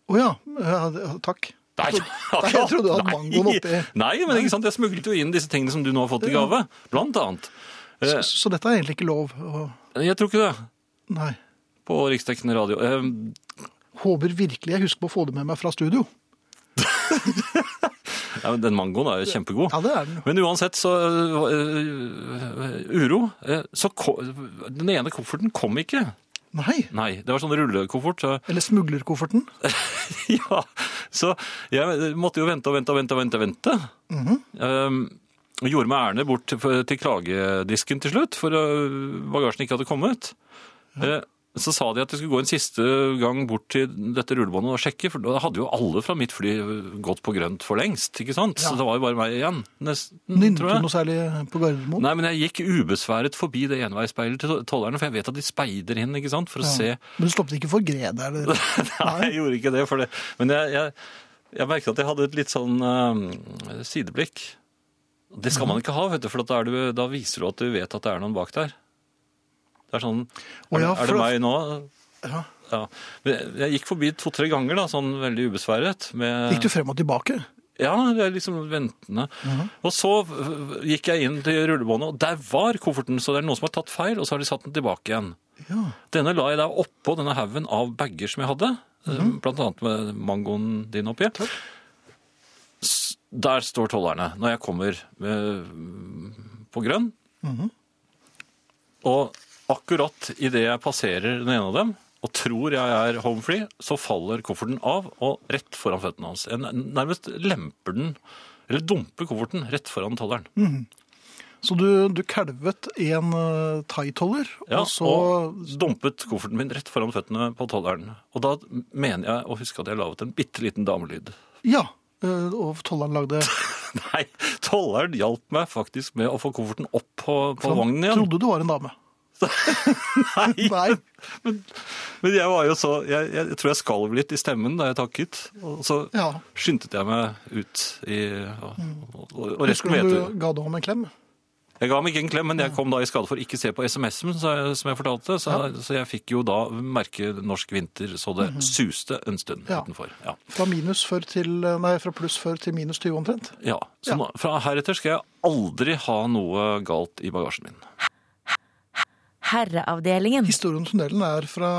Å ja. ja. Takk. Nei, jeg trodde- jeg trodde du hadde <laughs> nei. mangoen oppi. Nei, men ikke sant? jeg smuglet jo inn disse tingene som du nå har fått i gave. Blant annet. Så, så dette er egentlig ikke lov. å- Jeg tror ikke det. Nei. På riksdekkende radio. Eh, Håper virkelig jeg husker på å få det med meg fra studio. Ja, men den mangoen er jo kjempegod. Ja, det er den jo. Men uansett, så øh, øh, Uro. øh, Så ko- den ene kofferten kom ikke. Nei. Nei, det var sånn rullekoffert. så- Eller smuglerkofferten. Ja, så jeg måtte jo vente og vente og vente og vente. og vente. Um, og gjorde meg ærende bort til, til klagedisken til slutt, for øh, bagasjen ikke hadde kommet. Eh, Så sa de at de skulle gå en siste gang bort til dette rullebåndet og sjekke, for da hadde jo alle fra mitt fly gått på grønt for lengst, ikke sant? Så Ja. det var jo bare meg igjen, nesten, Nynnet du tror jeg. noe særlig på Gardermoen? Nei, men jeg gikk ubesværet forbi det enveisspeilet til to- tollerne, for jeg vet at de speider inn, ikke sant, for å se. Men du stoppet ikke for gre der? eller? <laughs> Nei, jeg gjorde ikke det, for det. men jeg, jeg, jeg merket at jeg hadde et litt sånn øhm, sideblikk. Det skal man ikke ha, vet du, for at da, er du, da viser du at du vet at det er noen bak der. Det er sånn, Å er, ja, er det for- meg nå? Ja. Ja. Men Jeg jeg gikk forbi to-tre ganger da, sånn veldig ubesværet. Med, Gikk du frem og tilbake? Ja, det er liksom ventende. Og så øh, gikk jeg inn til rullebåndet, og der var kofferten, så det er noen som har tatt feil, og så har de satt den tilbake igjen. Ja. Denne la jeg da oppå denne haugen av bager som jeg hadde, øh, blant annet med mangoen din oppi. S- Der står tollerne når jeg kommer øh, på grønn. Og akkurat idet jeg passerer den ene av dem, og tror jeg er homefree, så faller kofferten av og rett foran føttene hans. Jeg nærmest lemper den, eller dumper kofferten rett foran tolleren. Så du, du kalvet en uh, thaitoller, Ja, og så og dumpet kofferten min rett foran føttene på tolleren. Og da mener jeg å huske at jeg laget en bitte liten damelyd. <laughs> Ja. eh, Og tolleren lagde Nei, tolleren hjalp meg faktisk med å få kofferten opp på, på Han vognen igjen. trodde du var en dame. <laughs> <laughs> Nei, Nei. Men, men jeg var jo så jeg, jeg, jeg tror jeg skalv litt i stemmen da jeg takket. Og så Ja. skyndte jeg meg ut i Og, og, og resten Husker vet du du. du ga du ham en klem? Jeg ga meg ikke en klem, men jeg kom da i skade for ikke se på SMS-en, så jeg- som jeg fortalte. Så, så jeg fikk jo da merke norsk vinter så det suste en stund Mhm. Ja. utenfor. Ja. Fra, minus før til, eh, nei, fra pluss før til minus 20 omtrent? ja. Så Ja. Nå, fra heretter skal jeg aldri ha noe galt i bagasjen min. Herreavdelingen. Historien om tunnelen er, fra,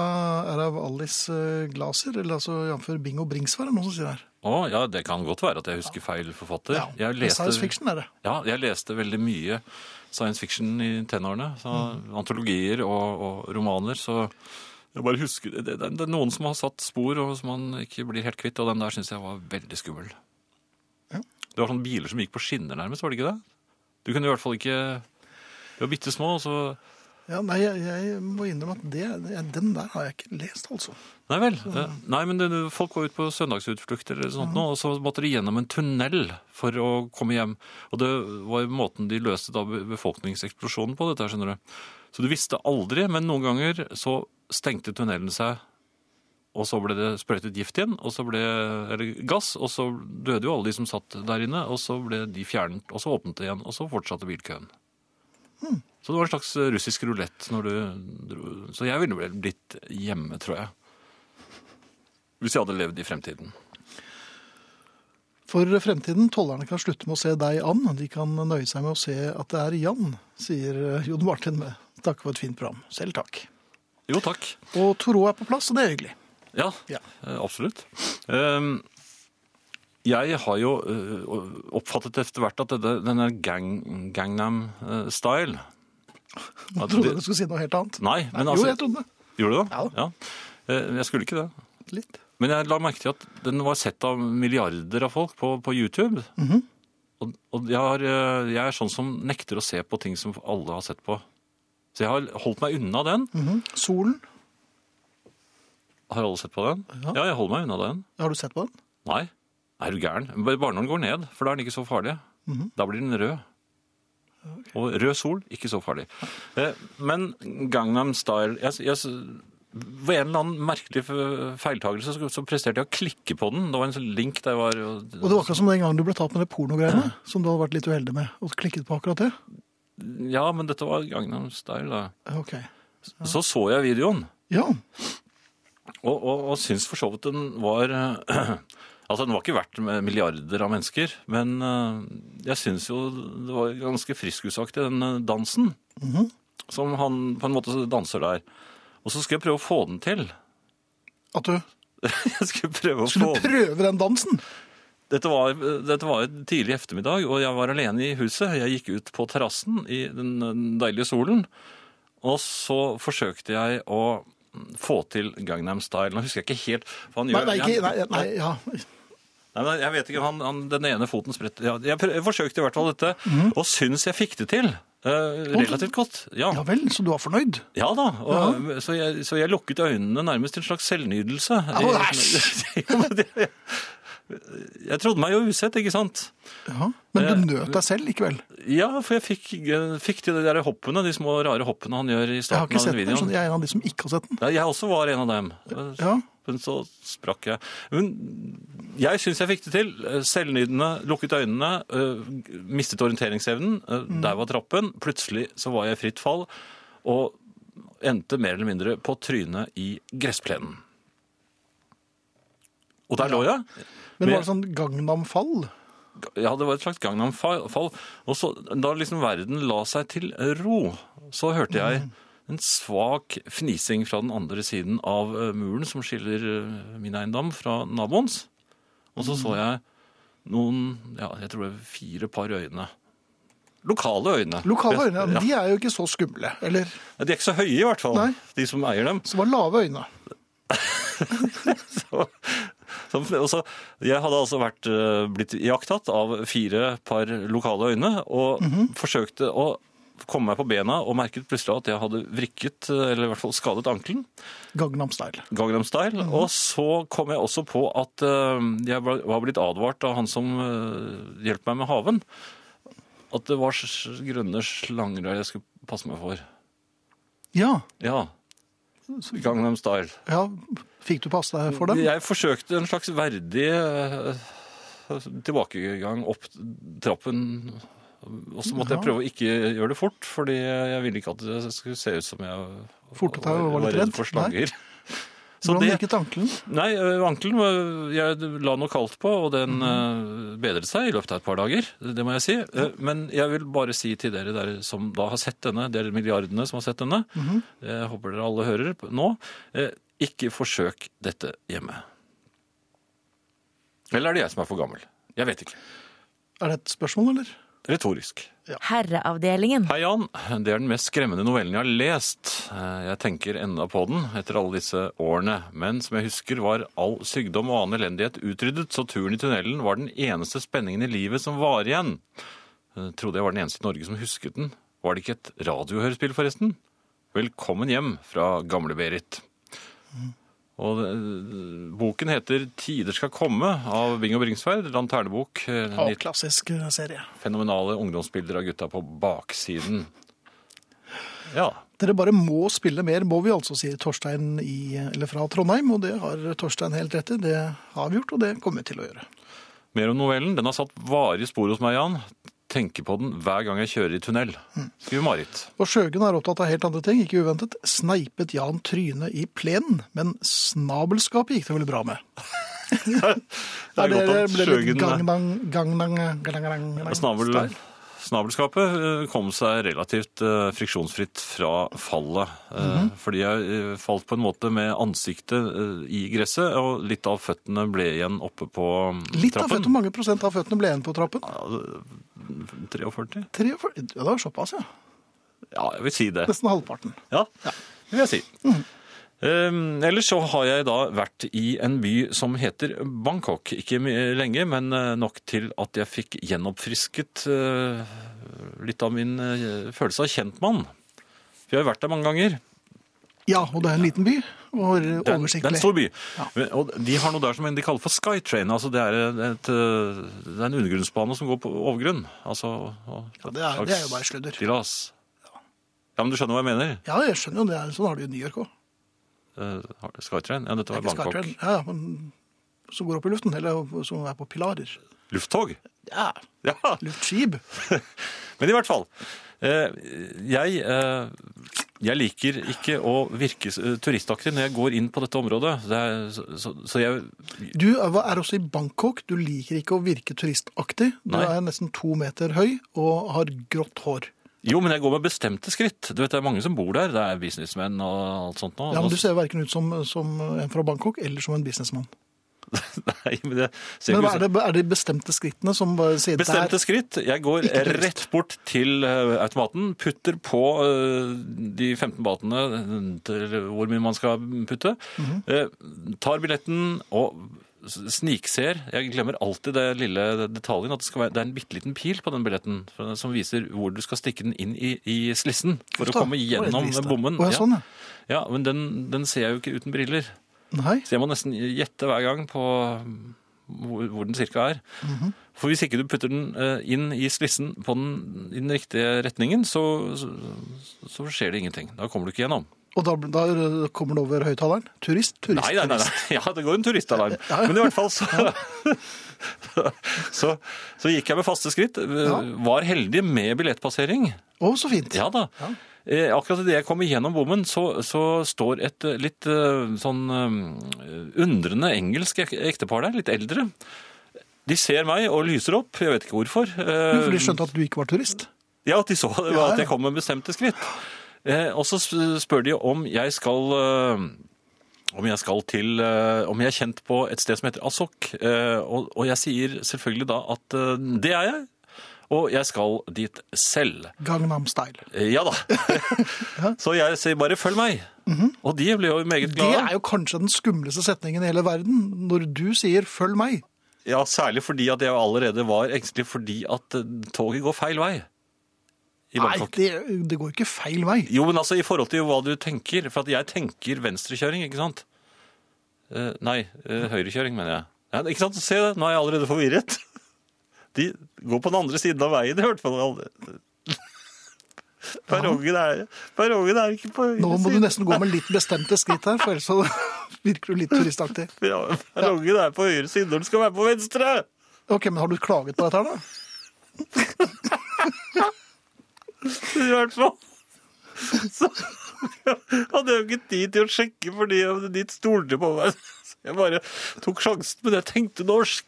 er av Alice eh, Glaser, eller altså jf. Bingo Bringsvær, er det noen som sier her. Å ja, det kan godt være at jeg husker feil forfatter. jeg det er Science fiction er det. Ja, jeg leste veldig mye science fiction i tenårene. Så Antologier og, og romaner. Så jeg bare husker det, det, det er noen som har satt spor, og som man ikke blir helt kvitt. Og den der syns jeg var veldig skummel. Ja. Det var sånne biler som gikk på skinner, nærmest, var det ikke det? Du kunne i hvert fall ikke De var bitte små, og så Ja, nei, jeg, jeg må innrømme at det, den der har jeg ikke lest, altså. Nei vel. eh, Nei, men det, det- folk var ute på søndagsutflukt eller sånt nå, og så måtte de gjennom en tunnel for å komme hjem. Og det var jo måten de løste da be- befolkningseksplosjonen på, dette her, skjønner du. Så du visste aldri, men noen ganger så stengte tunnelen seg, og så ble det sprøytet gift igjen, og så ble, eller gass, og så døde jo alle de som satt der inne, og så ble de fjernet, og så åpnet det igjen, og så fortsatte bilkøen. Så det var en slags russisk rulett når du dro. Så jeg ville vel blitt hjemme, tror jeg. Hvis jeg hadde levd i fremtiden. For fremtiden, tollerne kan slutte med å se deg an. De kan nøye seg med å se at det er Jan, sier eh, Jon Martin med. Takk for et fint program. Selv takk. Jo, takk. Og Toro er på plass, og det er hyggelig. Ja, Ja. eh, absolutt. Ehm, Jeg har jo eh, oppfattet etter hvert at denne, denne gang, Gangnam eh, Style Jeg <laughs> at trodde det- du skulle si noe helt annet. Nei, men jo, jeg altså trodde det. Gjorde du det? Ja. Eh, Jeg skulle ikke det. Litt. Men jeg la merke til at den var sett av milliarder av folk på, på YouTube. Mhm. Og, og jeg, har, eh, jeg er sånn som nekter å se på ting som alle har sett på. Så jeg har holdt meg unna den. Mhm. Solen, Har alle sett på den? Ja. ja jeg holder meg unna den. har du sett på den? Nei, er du gæren? Bare bare når den går ned, for da er den ikke så farlig. Mhm. Da blir den rød. Og rød sol, ikke så farlig. Eh, Men Gangnam Style jeg, jeg, Ved en eller annen merkelig fe- feiltagelse så, så presterte jeg å klikke på den. Det var en sånn link der jeg var Og det var akkurat som den gangen du ble tatt med det pornogreiene, <clears throat> som du hadde vært litt uheldig med, og klikket på akkurat det. Ja, men dette var Gangnam Style, da. Ja, Ok. Så så jeg videoen, Ja, og, og, og syns for så vidt den var <clears throat> eh, Altså, den var ikke verdt med milliarder av mennesker, men eh, jeg syns jo det var ganske friskusaktig, den eh, dansen. Mhm. Som han på en måte danser der. Og så skal jeg prøve å få den til. <laughs> at du Jeg skal prøve å få skulle den. prøve den dansen. Dette var, dette var et tidlig ettermiddag, og jeg var alene i huset. Jeg gikk ut på terrassen i den den deilige solen, og så forsøkte jeg å få til Gangnam Style. Nå husker jeg ikke helt for han Nei, gjør- nei, ikke, nei, han- nei ja. Nei, men jeg vet ikke, han, han, den ene foten spredt. Ja, jeg, prø- jeg forsøkte i hvert fall dette, og syns jeg fikk det til. eh, relativt godt. Ja, ja vel, så du var fornøyd? ja da. Og, så, jeg, så jeg lukket øynene nærmest til en slags selvnydelse. Au, æsj! <laughs> Ja, men det- jeg trodde meg jo usett, ikke sant? Ja. Men du Eh, nøt deg selv likevel? Ja, for jeg fikk, eh, fikk til de der hoppene, de små rare hoppene han gjør Jeg i har ikke starten av den sett den, videoen. så jeg er en av de som ikke har sett den. Nei, jeg også var en av dem. Ja, Men så sprakk jeg. Men jeg syns jeg fikk det til. Selvnydende, lukket øynene, øh, mistet orienteringsevnen. øh, Der var trappen. Plutselig så var jeg i fritt fall og endte mer eller mindre på trynet i gressplenen. Og der lå jeg. Men var det sånn Gangnam Fall? ja, det var et slags Gangnam Fall. Og så, da liksom verden la seg til ro, så hørte jeg en svak fnising fra den andre siden av eh, muren som skiller eh, min eiendom fra naboens. Og så Mm. så jeg noen, ja, jeg tror det var fire par øyne. Lokale øyne. Lokale øyne, Ja. de er jo ikke så skumle. Eller De er ikke så høye i hvert fall, Nei. de som eier dem. som var lave øyne. Så, så, og så, jeg hadde altså vært, eh, blitt iakttatt av fire par lokale øyne, og forsøkte å komme meg på bena og merket plutselig at jeg hadde vrikket, eh, eller i hvert fall skadet ankelen, Gangnam Style. Gangnam Style, og så kom jeg også på at eh, jeg var var blitt advart av han som eh, hjelper meg med haven, at det var s- s- grønne slanger der jeg skulle passe meg for. Ja. Ja, Gangnam Style. ja. Fikk du passe deg for dem? Jeg forsøkte en slags verdig eh, tilbakegang opp trappen. Og så måtte Ja. jeg prøve å ikke gjøre det fort, fordi jeg ville ikke at det skulle se ut som jeg Fortet deg og var litt redd? for Nei. slanger. Så Hvordan det, virket ankelen? nei, eh, ankelen var- jeg la noe kaldt på, og den eh, bedret seg i løpet av et par dager. Det må jeg si. Eh, Men jeg vil bare si til dere der som da har sett denne, dere milliardene som har sett denne, jeg håper dere alle hører på nå, eh, ikke forsøk dette hjemme. Eller er det jeg som er for gammel? Jeg vet ikke. Er det et spørsmål, eller? Retorisk. Herreavdelingen. Hei, Jan. Det er den mest skremmende novellen jeg har lest. Eh, Jeg tenker enda på den etter alle disse årene. Men som jeg husker, var all sykdom og annen elendighet utryddet, så turen i tunnelen var den eneste spenningen i livet som var igjen. Eh, Trodde jeg var den eneste i Norge som husket den. Var det ikke et radiohørespill, forresten? Velkommen hjem fra Gamle-Berit. Og eh, boken heter 'Tider skal komme' av Bing og Bringsværd. Lanternebok. eh, Ja, 19 klassisk eh, serie. fenomenale ungdomsbilder av gutta på baksiden. Ja. Dere bare må spille mer, må vi altså, sier Torstein i, eller fra Trondheim. Og det har Torstein helt rett i. Det har vi gjort, og det kommer vi til å gjøre. Mer om novellen. Den har satt varige spor hos meg, Jan. Tenker på den hver gang jeg kjører i tunnel. Skriver Marit. Og Sjøgen er opptatt av helt andre ting, ikke uventet. Sneipet Jan trynet i plenen, men snabelskapet gikk det vel bra med. Det er Ja, godt at ble litt Sjøgen eh, gangnang, gangnang, gangnang, gangnang, snabel, style. snabelskapet eh, kom seg relativt eh, friksjonsfritt fra fallet. eh, Mhm. Fordi jeg eh, falt på en måte med ansiktet eh, i gresset, og litt av føttene ble igjen oppe på mm, Litt av føttene, trappen. hvor mange prosent av føttene ble igjen på trappen? av 43? 43, ja, det var såpass, ja. Ja, jeg vil si det. Nesten halvparten. Ja, det vil jeg si. Eh, ellers så har jeg da vært i en by som heter Bangkok. Ikke my- lenge, men eh, nok til at jeg fikk gjenoppfrisket eh, litt av min eh, følelse av kjentmann. For jeg har jo vært der mange ganger. Ja, og det er en liten by, og Det er, en- det er en oversiktlig. stor by. Men- Og de har noe der som de kaller for Skytrain. Altså det, er et, eh, det er en undergrunnsbane som går på overgrunn. Altså, og- Ja, det er, det er jo bare sludder. Stillas. Ja, men du skjønner hva jeg mener? Ja, jeg skjønner jo det. er- Sånn har du i New York òg. Eh, Skytrain? Ja, dette var Bangkok. Skytrain. Ja, ja, men som går opp i luften, eller som er på pilarer. Lufttog? Ja, Ja, luftskip. Men i hvert fall. eh, Jeg, eh, jeg liker ikke å virke eh, turistaktig når jeg går inn på dette området. Det er, så, så- så jeg Du er også i Bangkok. Du liker ikke å virke turistaktig. Du Nei. er nesten to meter høy og har grått hår. Jo, men jeg går med bestemte skritt. Du vet, Det er mange som bor der. Det er businessmenn og alt sånt. Nå. Ja, men Du ser verken ut som, som en fra Bangkok eller som en businessmann. <laughs> Nei, men det ser Men ikke hva ut er som det, er det bestemte skrittene som bare sier Bestemte der? skritt. Jeg går Ikke turist. rett bort til eh, automaten, putter på eh, de 15 batene eh, til hvor mye man skal putte, Mhm. eh, tar billetten og s- snikser. Jeg glemmer alltid det lille detaljen at det, skal være, det er en bitte liten pil på den billetten for- som viser hvor du skal stikke den inn i, i slissen for å Da, komme hvor er det gjennom vist, da? bommen. Å, ja, sånn, ja. ja, men den, den ser jeg jo ikke uten briller. Nei. Så jeg må nesten gjette hver gang på hvor, hvor den cirka er. Mhm. For hvis ikke du putter den eh, inn i slissen på den, i den riktige retningen, så, så, så skjer det ingenting. Da kommer du ikke gjennom. Og da, da kommer det over høyttaleren. Turist, turist. Nei, nei, nei, nei. <laughs> Ja, det går en turistalarm. Ja, ja. Men i hvert fall så, <laughs> så Så gikk jeg med faste skritt. eh, Var heldig med billettpassering. Å, så fint. Ja da. Eh, akkurat idet jeg kom igjennom bommen, så, så står et eh, litt eh, sånn eh, undrende engelsk ek- ektepar der, litt eldre. De ser meg og lyser opp, jeg vet ikke hvorfor. Eh, Jo, for de skjønte at du ikke var turist. Ja, at de så det Ja, var ja. at jeg kom med bestemte skritt. Eh, og så sp- spør de om jeg skal eh, om jeg skal til eh, om jeg er kjent på et sted som heter Asok. Eh, og, og jeg sier selvfølgelig da at eh, det er jeg, og jeg skal dit selv. Gangnam Style. Eh, ja <laughs> da. så jeg sier bare følg meg. Og de ble jo meget Det glade. Mhm. er jo kanskje den skumleste setningen i hele verden, når du sier 'følg meg'. Ja, Særlig fordi at jeg allerede var engstelig fordi at eh, toget går feil vei. I Nei, Bangkok. det, det går ikke feil vei. Jo, men altså i forhold til hva du tenker, for at jeg tenker venstrekjøring, ikke sant? Eh, nei, eh, høyrekjøring mener jeg. Ja, ikke sant? Se, det, nå er jeg allerede forvirret. <laughs> De går på den andre siden av veien, i hvert fall. <laughs> Perrongen er, perrongen er ikke på høyre Nå må du side. nesten gå med litt bestemte skritt her, for ellers så <laughs> virker du litt turistaktig. Ja, Perrongen er på høyre side når den skal være på venstre! Ok, men har du klaget på dette her, da? I hvert fall. Så hadde jeg jo ikke tid til å sjekke fordi jeg- de stolte på meg. Så jeg bare tok sjansen, men jeg tenkte norsk.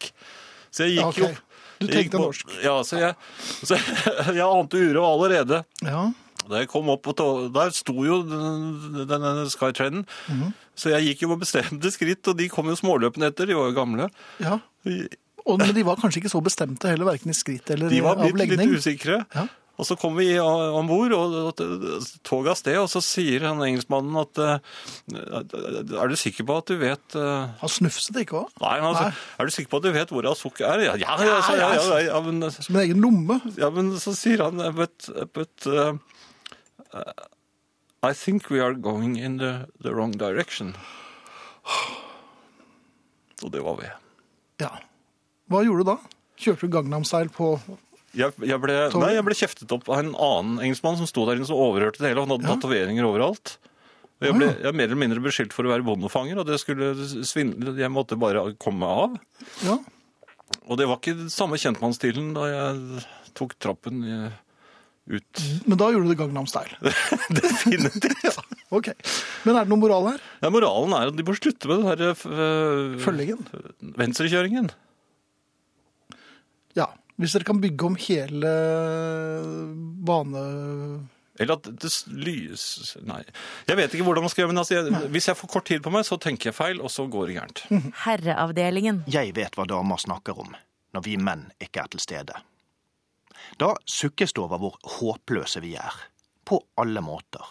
Så jeg Ja, gikk ok. jo opp. Du Jeg gikk tenkte på- norsk. Ja, så jeg, så jeg, <laughs> jeg ante uro allerede. Ja. Da jeg kom opp på tå- der sto jo den- denne Skytrainen. Mhm. Så jeg gikk jo på bestemte skritt, og de kom jo småløpende etter. De var jo gamle. ja. Og, men de var kanskje ikke så bestemte heller, verken i skritt eller De var blitt litt avlegning. usikre. Ja. Og så kom vi om bord, og og toget av sted, og så sier han engelskmannen at eh, Er du sikker på at du vet eh, Han snufset ikke òg? Nei, men altså, Nei. er du sikker på at du vet hvor Asok er? Ja, ja, ja, sa jeg, ja, ja, ja, men, Som en egen lomme? ja, men så sier han eh, But, but eh, I think we are going in the, the wrong direction. <sighs> Og det var vi. Ja. Hva gjorde du da? Kjørte du Gangnam Style på Jeg, jeg, ble, nei, jeg ble kjeftet opp av en annen engelskmann som sto der inne som overhørte det hele. og Han hadde tatoveringer overalt. Og jeg ble jeg er mer eller mindre beskyldt for å være bondefanger, og det skulle svindle. Jeg måtte bare komme meg av. Ja. Og det var ikke den samme kjentmannsstilen da jeg tok trappen eh, ut. Men da gjorde du Gangnam <laughs> Style. Definitivt. Ok. Men er det noe moral her? Ja, moralen er at de bør slutte med den derre Følgingen? venstrekjøringen. Ja. Hvis dere kan bygge om hele bane... Eller at det s- lys Nei. Jeg vet ikke hvordan man skal gjøre, men altså, jeg, hvis jeg får kort tid på meg, så tenker jeg feil, og så går det gærent. Herreavdelingen. Jeg vet hva damer snakker om når vi menn ikke er til stede. Da sukkes det over hvor håpløse vi er, på alle måter.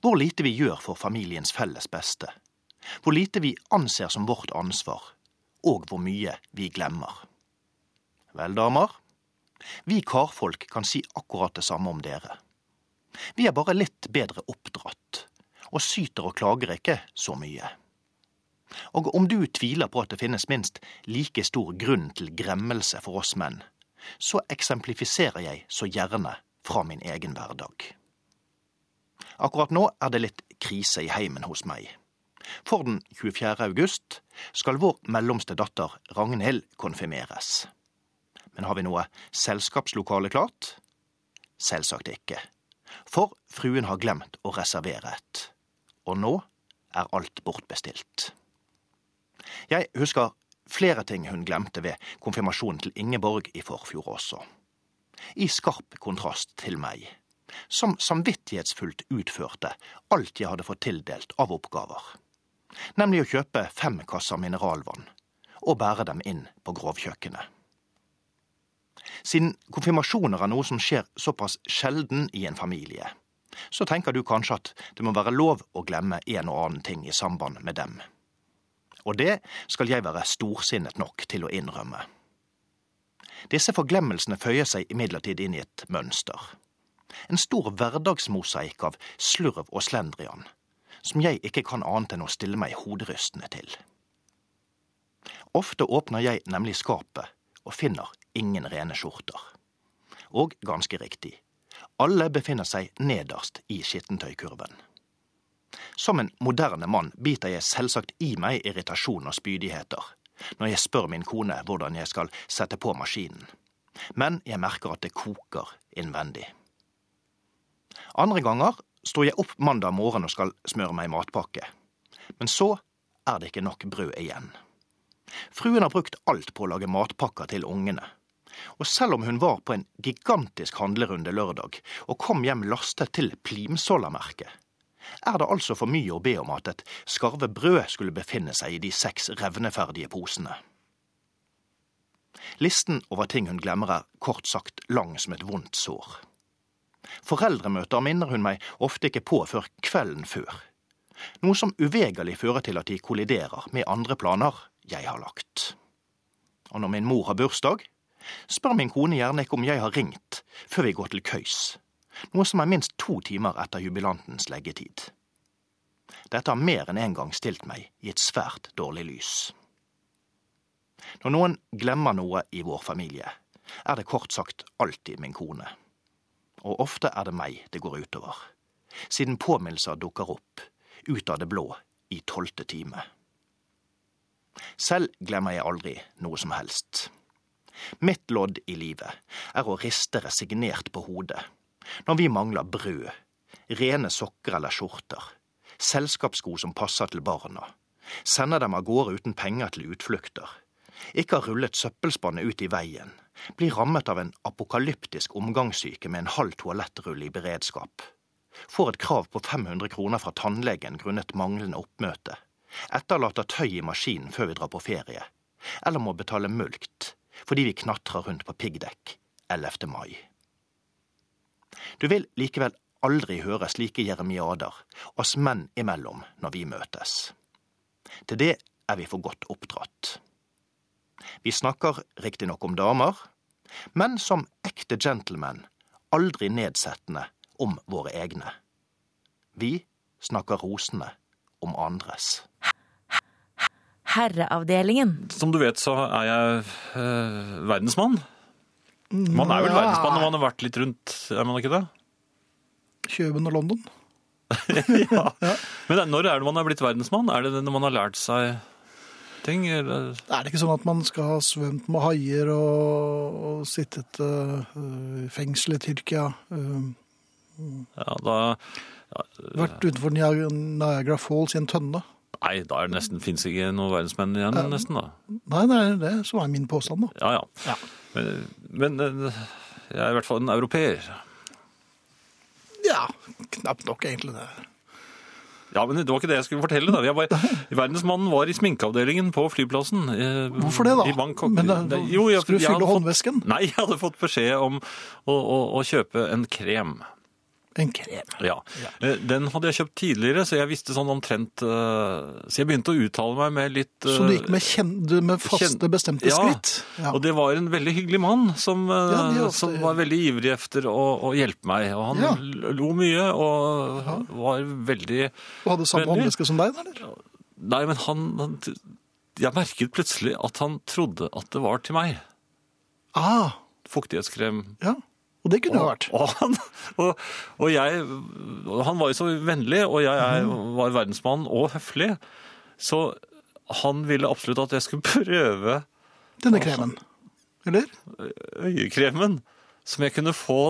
Hvor lite vi gjør for familiens felles beste. Hvor lite vi anser som vårt ansvar, og hvor mye vi glemmer. Vel, damer, vi karfolk kan si akkurat det samme om dere. Vi er bare litt bedre oppdratt, og syter og klager ikke så mye. Og om du tviler på at det finnes minst like stor grunn til gremmelse for oss menn, så eksemplifiserer jeg så gjerne fra min egen hverdag. Akkurat nå er det litt krise i heimen hos meg. For den 24. august skal vår mellomste datter Ragnhild konfirmeres. Men har vi noe selskapslokale klart? Selvsagt ikke. For fruen har glemt å reservere et. Og nå er alt bortbestilt. Jeg husker flere ting hun glemte ved konfirmasjonen til Ingeborg i forfjor også. I skarp kontrast til meg, som samvittighetsfullt utførte alt jeg hadde fått tildelt av oppgaver. Nemlig å kjøpe fem kasser mineralvann og bære dem inn på grovkjøkkenet. Siden konfirmasjoner er noe som skjer såpass sjelden i en familie, så tenker du kanskje at det må være lov å glemme en og annen ting i samband med dem. Og det skal jeg være storsinnet nok til å innrømme. Disse forglemmelsene føyer seg imidlertid inn i et mønster. En stor hverdagsmosaikk av slurv og slendrian, som jeg ikke kan annet enn å stille meg hoderystende til. Ofte åpner jeg nemlig skapet og finner ingen rene skjorter. Og ganske riktig, alle befinner seg nederst i skittentøykurven. Som en moderne mann biter jeg selvsagt i meg irritasjon og spydigheter når jeg spør min kone hvordan jeg skal sette på maskinen. Men jeg merker at det koker innvendig. Andre ganger står jeg opp mandag morgen og skal smøre meg matpakke. Men så er det ikke nok brød igjen. Fruen har brukt alt på å lage matpakker til ungene. Og selv om hun var på en gigantisk handlerunde lørdag, og kom hjem lastet til Plimsolla-merket, er det altså for mye å be om at et skarve brød skulle befinne seg i de seks revneferdige posene. Listen over ting hun glemmer er kort sagt lang som et vondt sår. Foreldremøter minner hun meg ofte ikke på før kvelden før, noe som uvegerlig fører til at de kolliderer med andre planer jeg har lagt. Og når min mor har bursdag, spør min kone gjerne ikke om jeg har ringt før vi går til køys, noe som er minst to timer etter jubilantens leggetid. Dette har mer enn én en gang stilt meg i et svært dårlig lys. Når noen glemmer noe i vår familie, er det kort sagt alltid min kone. Og ofte er det meg det går utover, siden påminnelser dukker opp, ut av det blå, i tolvte time. Selv glemmer jeg aldri noe som helst. Mitt lodd i livet er å riste resignert på hodet når vi mangler brød, rene sokker eller skjorter, selskapssko som passer til barna, sender dem av gårde uten penger til utflukter, ikke har rullet søppelspannet ut i veien, blir rammet av en apokalyptisk omgangssyke med en halv toalettrull i beredskap, får et krav på 500 kroner fra tannlegen grunnet manglende oppmøte, etterlater tøy i maskinen før vi drar på ferie, eller må betale mulkt fordi vi knatrer rundt på piggdekk 11. mai. Du vil likevel aldri høre slike jeremiader oss menn imellom når vi møtes. Til det er vi for godt oppdratt. Vi snakker riktignok om damer, men som ekte gentlemen aldri nedsettende om våre egne. Vi snakker rosende om andres. Herreavdelingen. Som du vet, så er jeg eh, verdensmann. Man er vel verdensmann når man har vært litt rundt, er man ikke det? Kjøben og London. <laughs> Men når er det man er blitt verdensmann? Er det når man har lært seg ting? Eller? Er det ikke sånn at man skal ha svømt med haier og, og sittet øh, i fengsel i Tyrkia? øh, Ja, da, vært utenfor Niag- Niagara Falls i en tønne? nei, da er det nesten, finnes ikke noen verdensmenn igjen, nesten da. Nei, det er det som er min påstand, da. Ja, ja. Men, men eh, jeg er i hvert fall en europeer. Ja, knapt nok, egentlig. det. Ja, men det var ikke det jeg skulle fortelle. da. Jeg var, verdensmannen var i sminkeavdelingen på flyplassen. eh, Hvorfor det, da? I Bangkok. Men da, Nei, jo, jeg- skal du jeg hadde fylle fått- håndvesken? <laughs> Nei, jeg hadde fått beskjed om å, å, å kjøpe en krem. En krem. Ja. Eh, Den hadde jeg kjøpt tidligere, så jeg visste sånn omtrent eh, Så jeg begynte å uttale meg med litt eh, Så du gikk med, kjen, du med faste, kjen- bestemte Ja, skritt? Ja. Og det var en veldig hyggelig mann som, eh, Ja, det er ofte- som var veldig ivrig etter å, å hjelpe meg. Og han Ja. l- lo mye og var veldig Du hadde samme Veldig. håndveske som deg, da, eller? Nei, men han, han Jeg merket plutselig at han trodde at det var til meg. Ah, Fuktighetskrem. ja. Og det kunne det vært. Og han, og, og jeg, og han var jo så vennlig, og jeg, er- Mhm. var verdensmann og høflig. Så han ville absolutt at jeg skulle <laughs> prøve Denne altså. kremen. Eller? øyekremen. Som jeg kunne få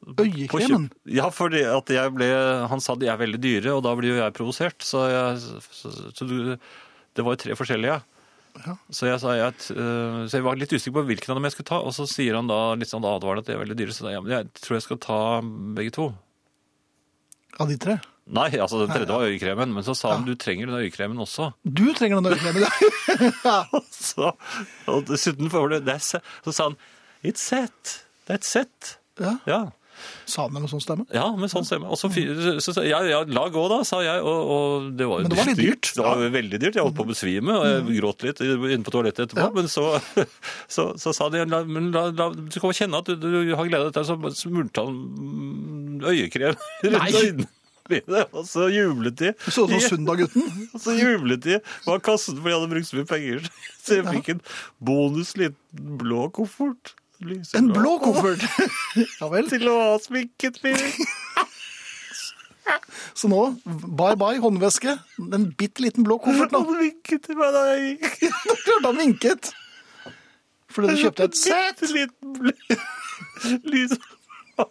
på kjøp- Øyekremen? Ja, fordi at jeg ble, han sa de er veldig dyre, og da blir jo jeg provosert. Så, jeg, så, så du, det var jo tre forskjellige. Ja. Så, jeg, sa, jeg, t- eh, så jeg var litt usikker på hvilken av dem jeg skulle ta. Og så sier han da litt sånn advarende at de er veldig dyre, så da, ja, men jeg tror jeg skal ta begge to. Av de tre? Nei, altså den tredje var øyekremen, men så sa han du trenger den øyekremen også. <laughs> Du trenger denne øyekremen. Så, og dessuten får du det, er se- så sa han it's set, that's set. <laughs> ja. Ja, Sa han det med sånn stemme? ja med sånn stemme. Og så, fi- så, så ja, ja, la gå da, sa jeg, og, og det var jo Men det var litt dyrt. Mm. Det var veldig dyrt, jeg holdt på å besvime, og jeg gråt litt inne på toalettet etterpå, men så, <laughs> så, så sa de, la, men la, la, du kommer kjenne at du, du har gledet deg, så smurte han mm, øyekrem <laughs> rundt øynene. mine, Og så jublet de. Du så ut som Sundaggutten. Og så jublet de bak kassen fordi jeg hadde brukt så mye penger. <laughs> Så jeg fikk en bonus liten blå koffert. Lyseblå. En blå koffert! <laughs> ja vel. Til å ha sminket <laughs> med. Så nå, bye bye håndveske. Den bitte liten blå koffert <laughs> nå. Han vinket til meg da jeg gikk. Klart han vinket! Fordi du kjøpte et sett. Bitte liten <laughs> blå lys.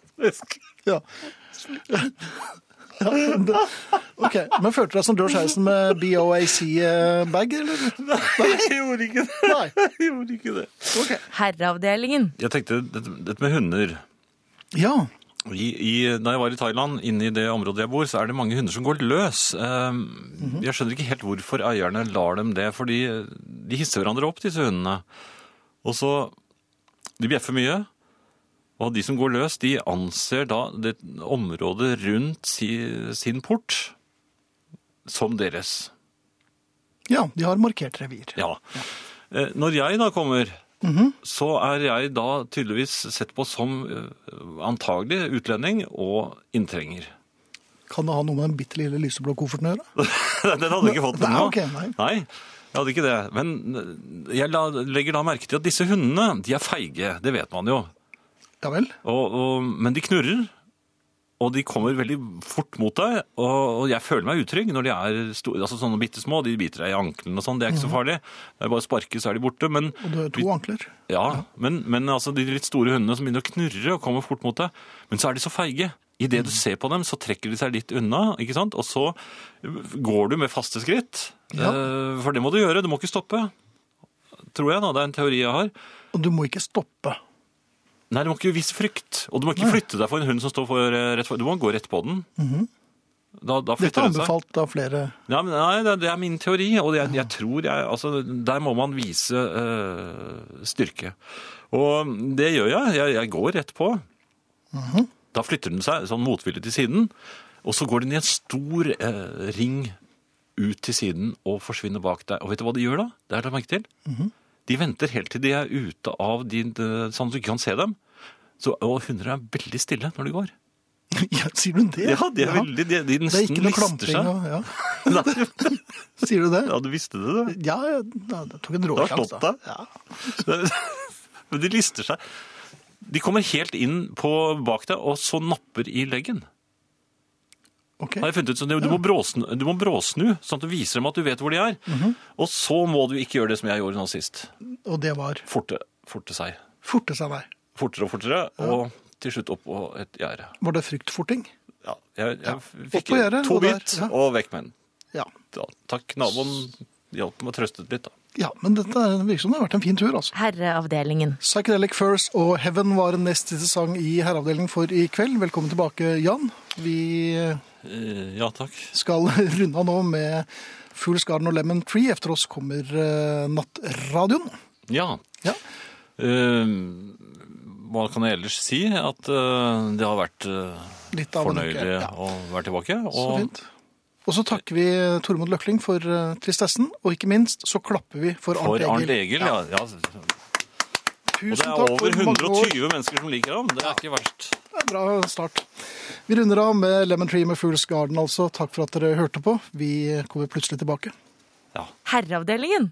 Ja. Det- Ok, Men følte du deg som George Harrison med BOAC-bag, eller? Nei, jeg gjorde ikke det. Nei. Jeg gjorde ikke det. ok. Herreavdelingen. Jeg tenkte dette dette med hunder. Ja. I, i, da jeg var i Thailand, inne i det området jeg bor, så er det mange hunder som går løs. Ehm, Jeg skjønner ikke helt hvorfor eierne lar dem det, fordi de hisser hverandre opp, disse hundene. Og så De bjeffer mye. Og de som går løs, de anser da det området rundt si, sin port som deres. ja, de har markert revir. Ja. Eh, Når jeg da kommer, Mhm. så er jeg da tydeligvis sett på som eh, antagelig utlending og inntrenger. <laughs> Kan det ha noe med den bitte lille lyseblå kofferten å gjøre? Den hadde jeg ikke fått Nei, ennå. ok, nei. jeg hadde ikke det. Men eh, jeg la, legger da merke til at disse hundene, de er feige, det vet man jo. Ja vel. Og, og, men de knurrer, og de kommer veldig fort mot deg, og, og jeg føler meg utrygg når de er store, altså sånne bittesmå, de biter deg i anklen og sånn, det er Mhm. ikke så farlig. Det er bare å sparke, så er de borte, men... Og du har to ankler. Ja, men, men altså de litt store hundene som begynner å knurre og kommer fort mot deg, men så er de så feige. I det du Mm. ser på dem, så trekker de seg litt unna, ikke sant? Og så går du med faste skritt, Ja. Eh, for det må du gjøre, du må ikke stoppe. Tror jeg da, det er en teori jeg har. Og du må ikke stoppe. Nei, du må ikke vise frykt, og du må ikke flytte deg for en hund som står for, eh, rett for, du må gå rett på den. Da, da Mhm. Dette flytter er den seg. anbefalt av flere. <laughs> Ja, men, nei, det, det er min teori, og jeg, jeg tror jeg Altså, der må man vise eh, styrke. Og det gjør jeg. Jeg, jeg går rett på. Da flytter den seg sånn motvillig til siden, og så går den i en stor eh, ring ut til siden og forsvinner bak deg. Og vet du hva de gjør da? Det har jeg lagt merke til. De venter helt til de er ute av din, eh, sånn at du ikke kan se dem. Så, og hunder er veldig stille når de går. Ja, sier du det? Ja, de er veldig De, de Det er ikke nesten noe lister klamping. seg. og- Ja. <laughs> Nei, Sier du det? ja, du visste det, du. Ja, jeg, ja, jeg tok en Du har slått råsjanse. da. deg. Men de lister seg. De kommer helt inn på bak deg, og så napper i leggen. Ok. Har jeg funnet ut, så du, du, må bråsnu, du må bråsnu, sånn at du viser dem at du vet hvor de er. Mhm. Og så må du ikke gjøre det som jeg gjorde nå sist. Og det var Forte, forte seg. forte seg vei. Fortere og fortere, og til slutt opp på et gjerde. Var det fryktforting? Ja, jeg, jeg Opp fikk på gjerdet, to og der, bit, ja. og vekk med den. Ja. Ja, takk, naboen hjalp meg og trøstet litt. da. ja, men dette er- virker som det har vært en fin tur, altså. Herreavdelingen. Psychedelic First og Heaven var nest siste sang i herreavdelingen for i kveld. Velkommen tilbake, Jan. Vi Eh, Ja, takk. skal <laughs> runde av nå med Fools Garden og Lemon Tree. Efter oss kommer eh, nattradioen. Ja. Ja. Eh, hva kan jeg ellers si? At eh, det har vært eh, Litt av en uke, fornøyelig ja. å være tilbake. Så og- fint. Og så takker vi Tormod Løkling for eh, tristessen, og ikke minst så klapper vi for Arnt For Egil. Arnt Egil, ja. ja. Og Tusen det er takk over for mange år. 120 mennesker som liker ham. Det er ikke verst. Det er en bra start. Vi runder av med Lemon Tree med Fools Garden, altså. Takk for at dere hørte på. Vi kommer plutselig tilbake. Ja. Herreavdelingen.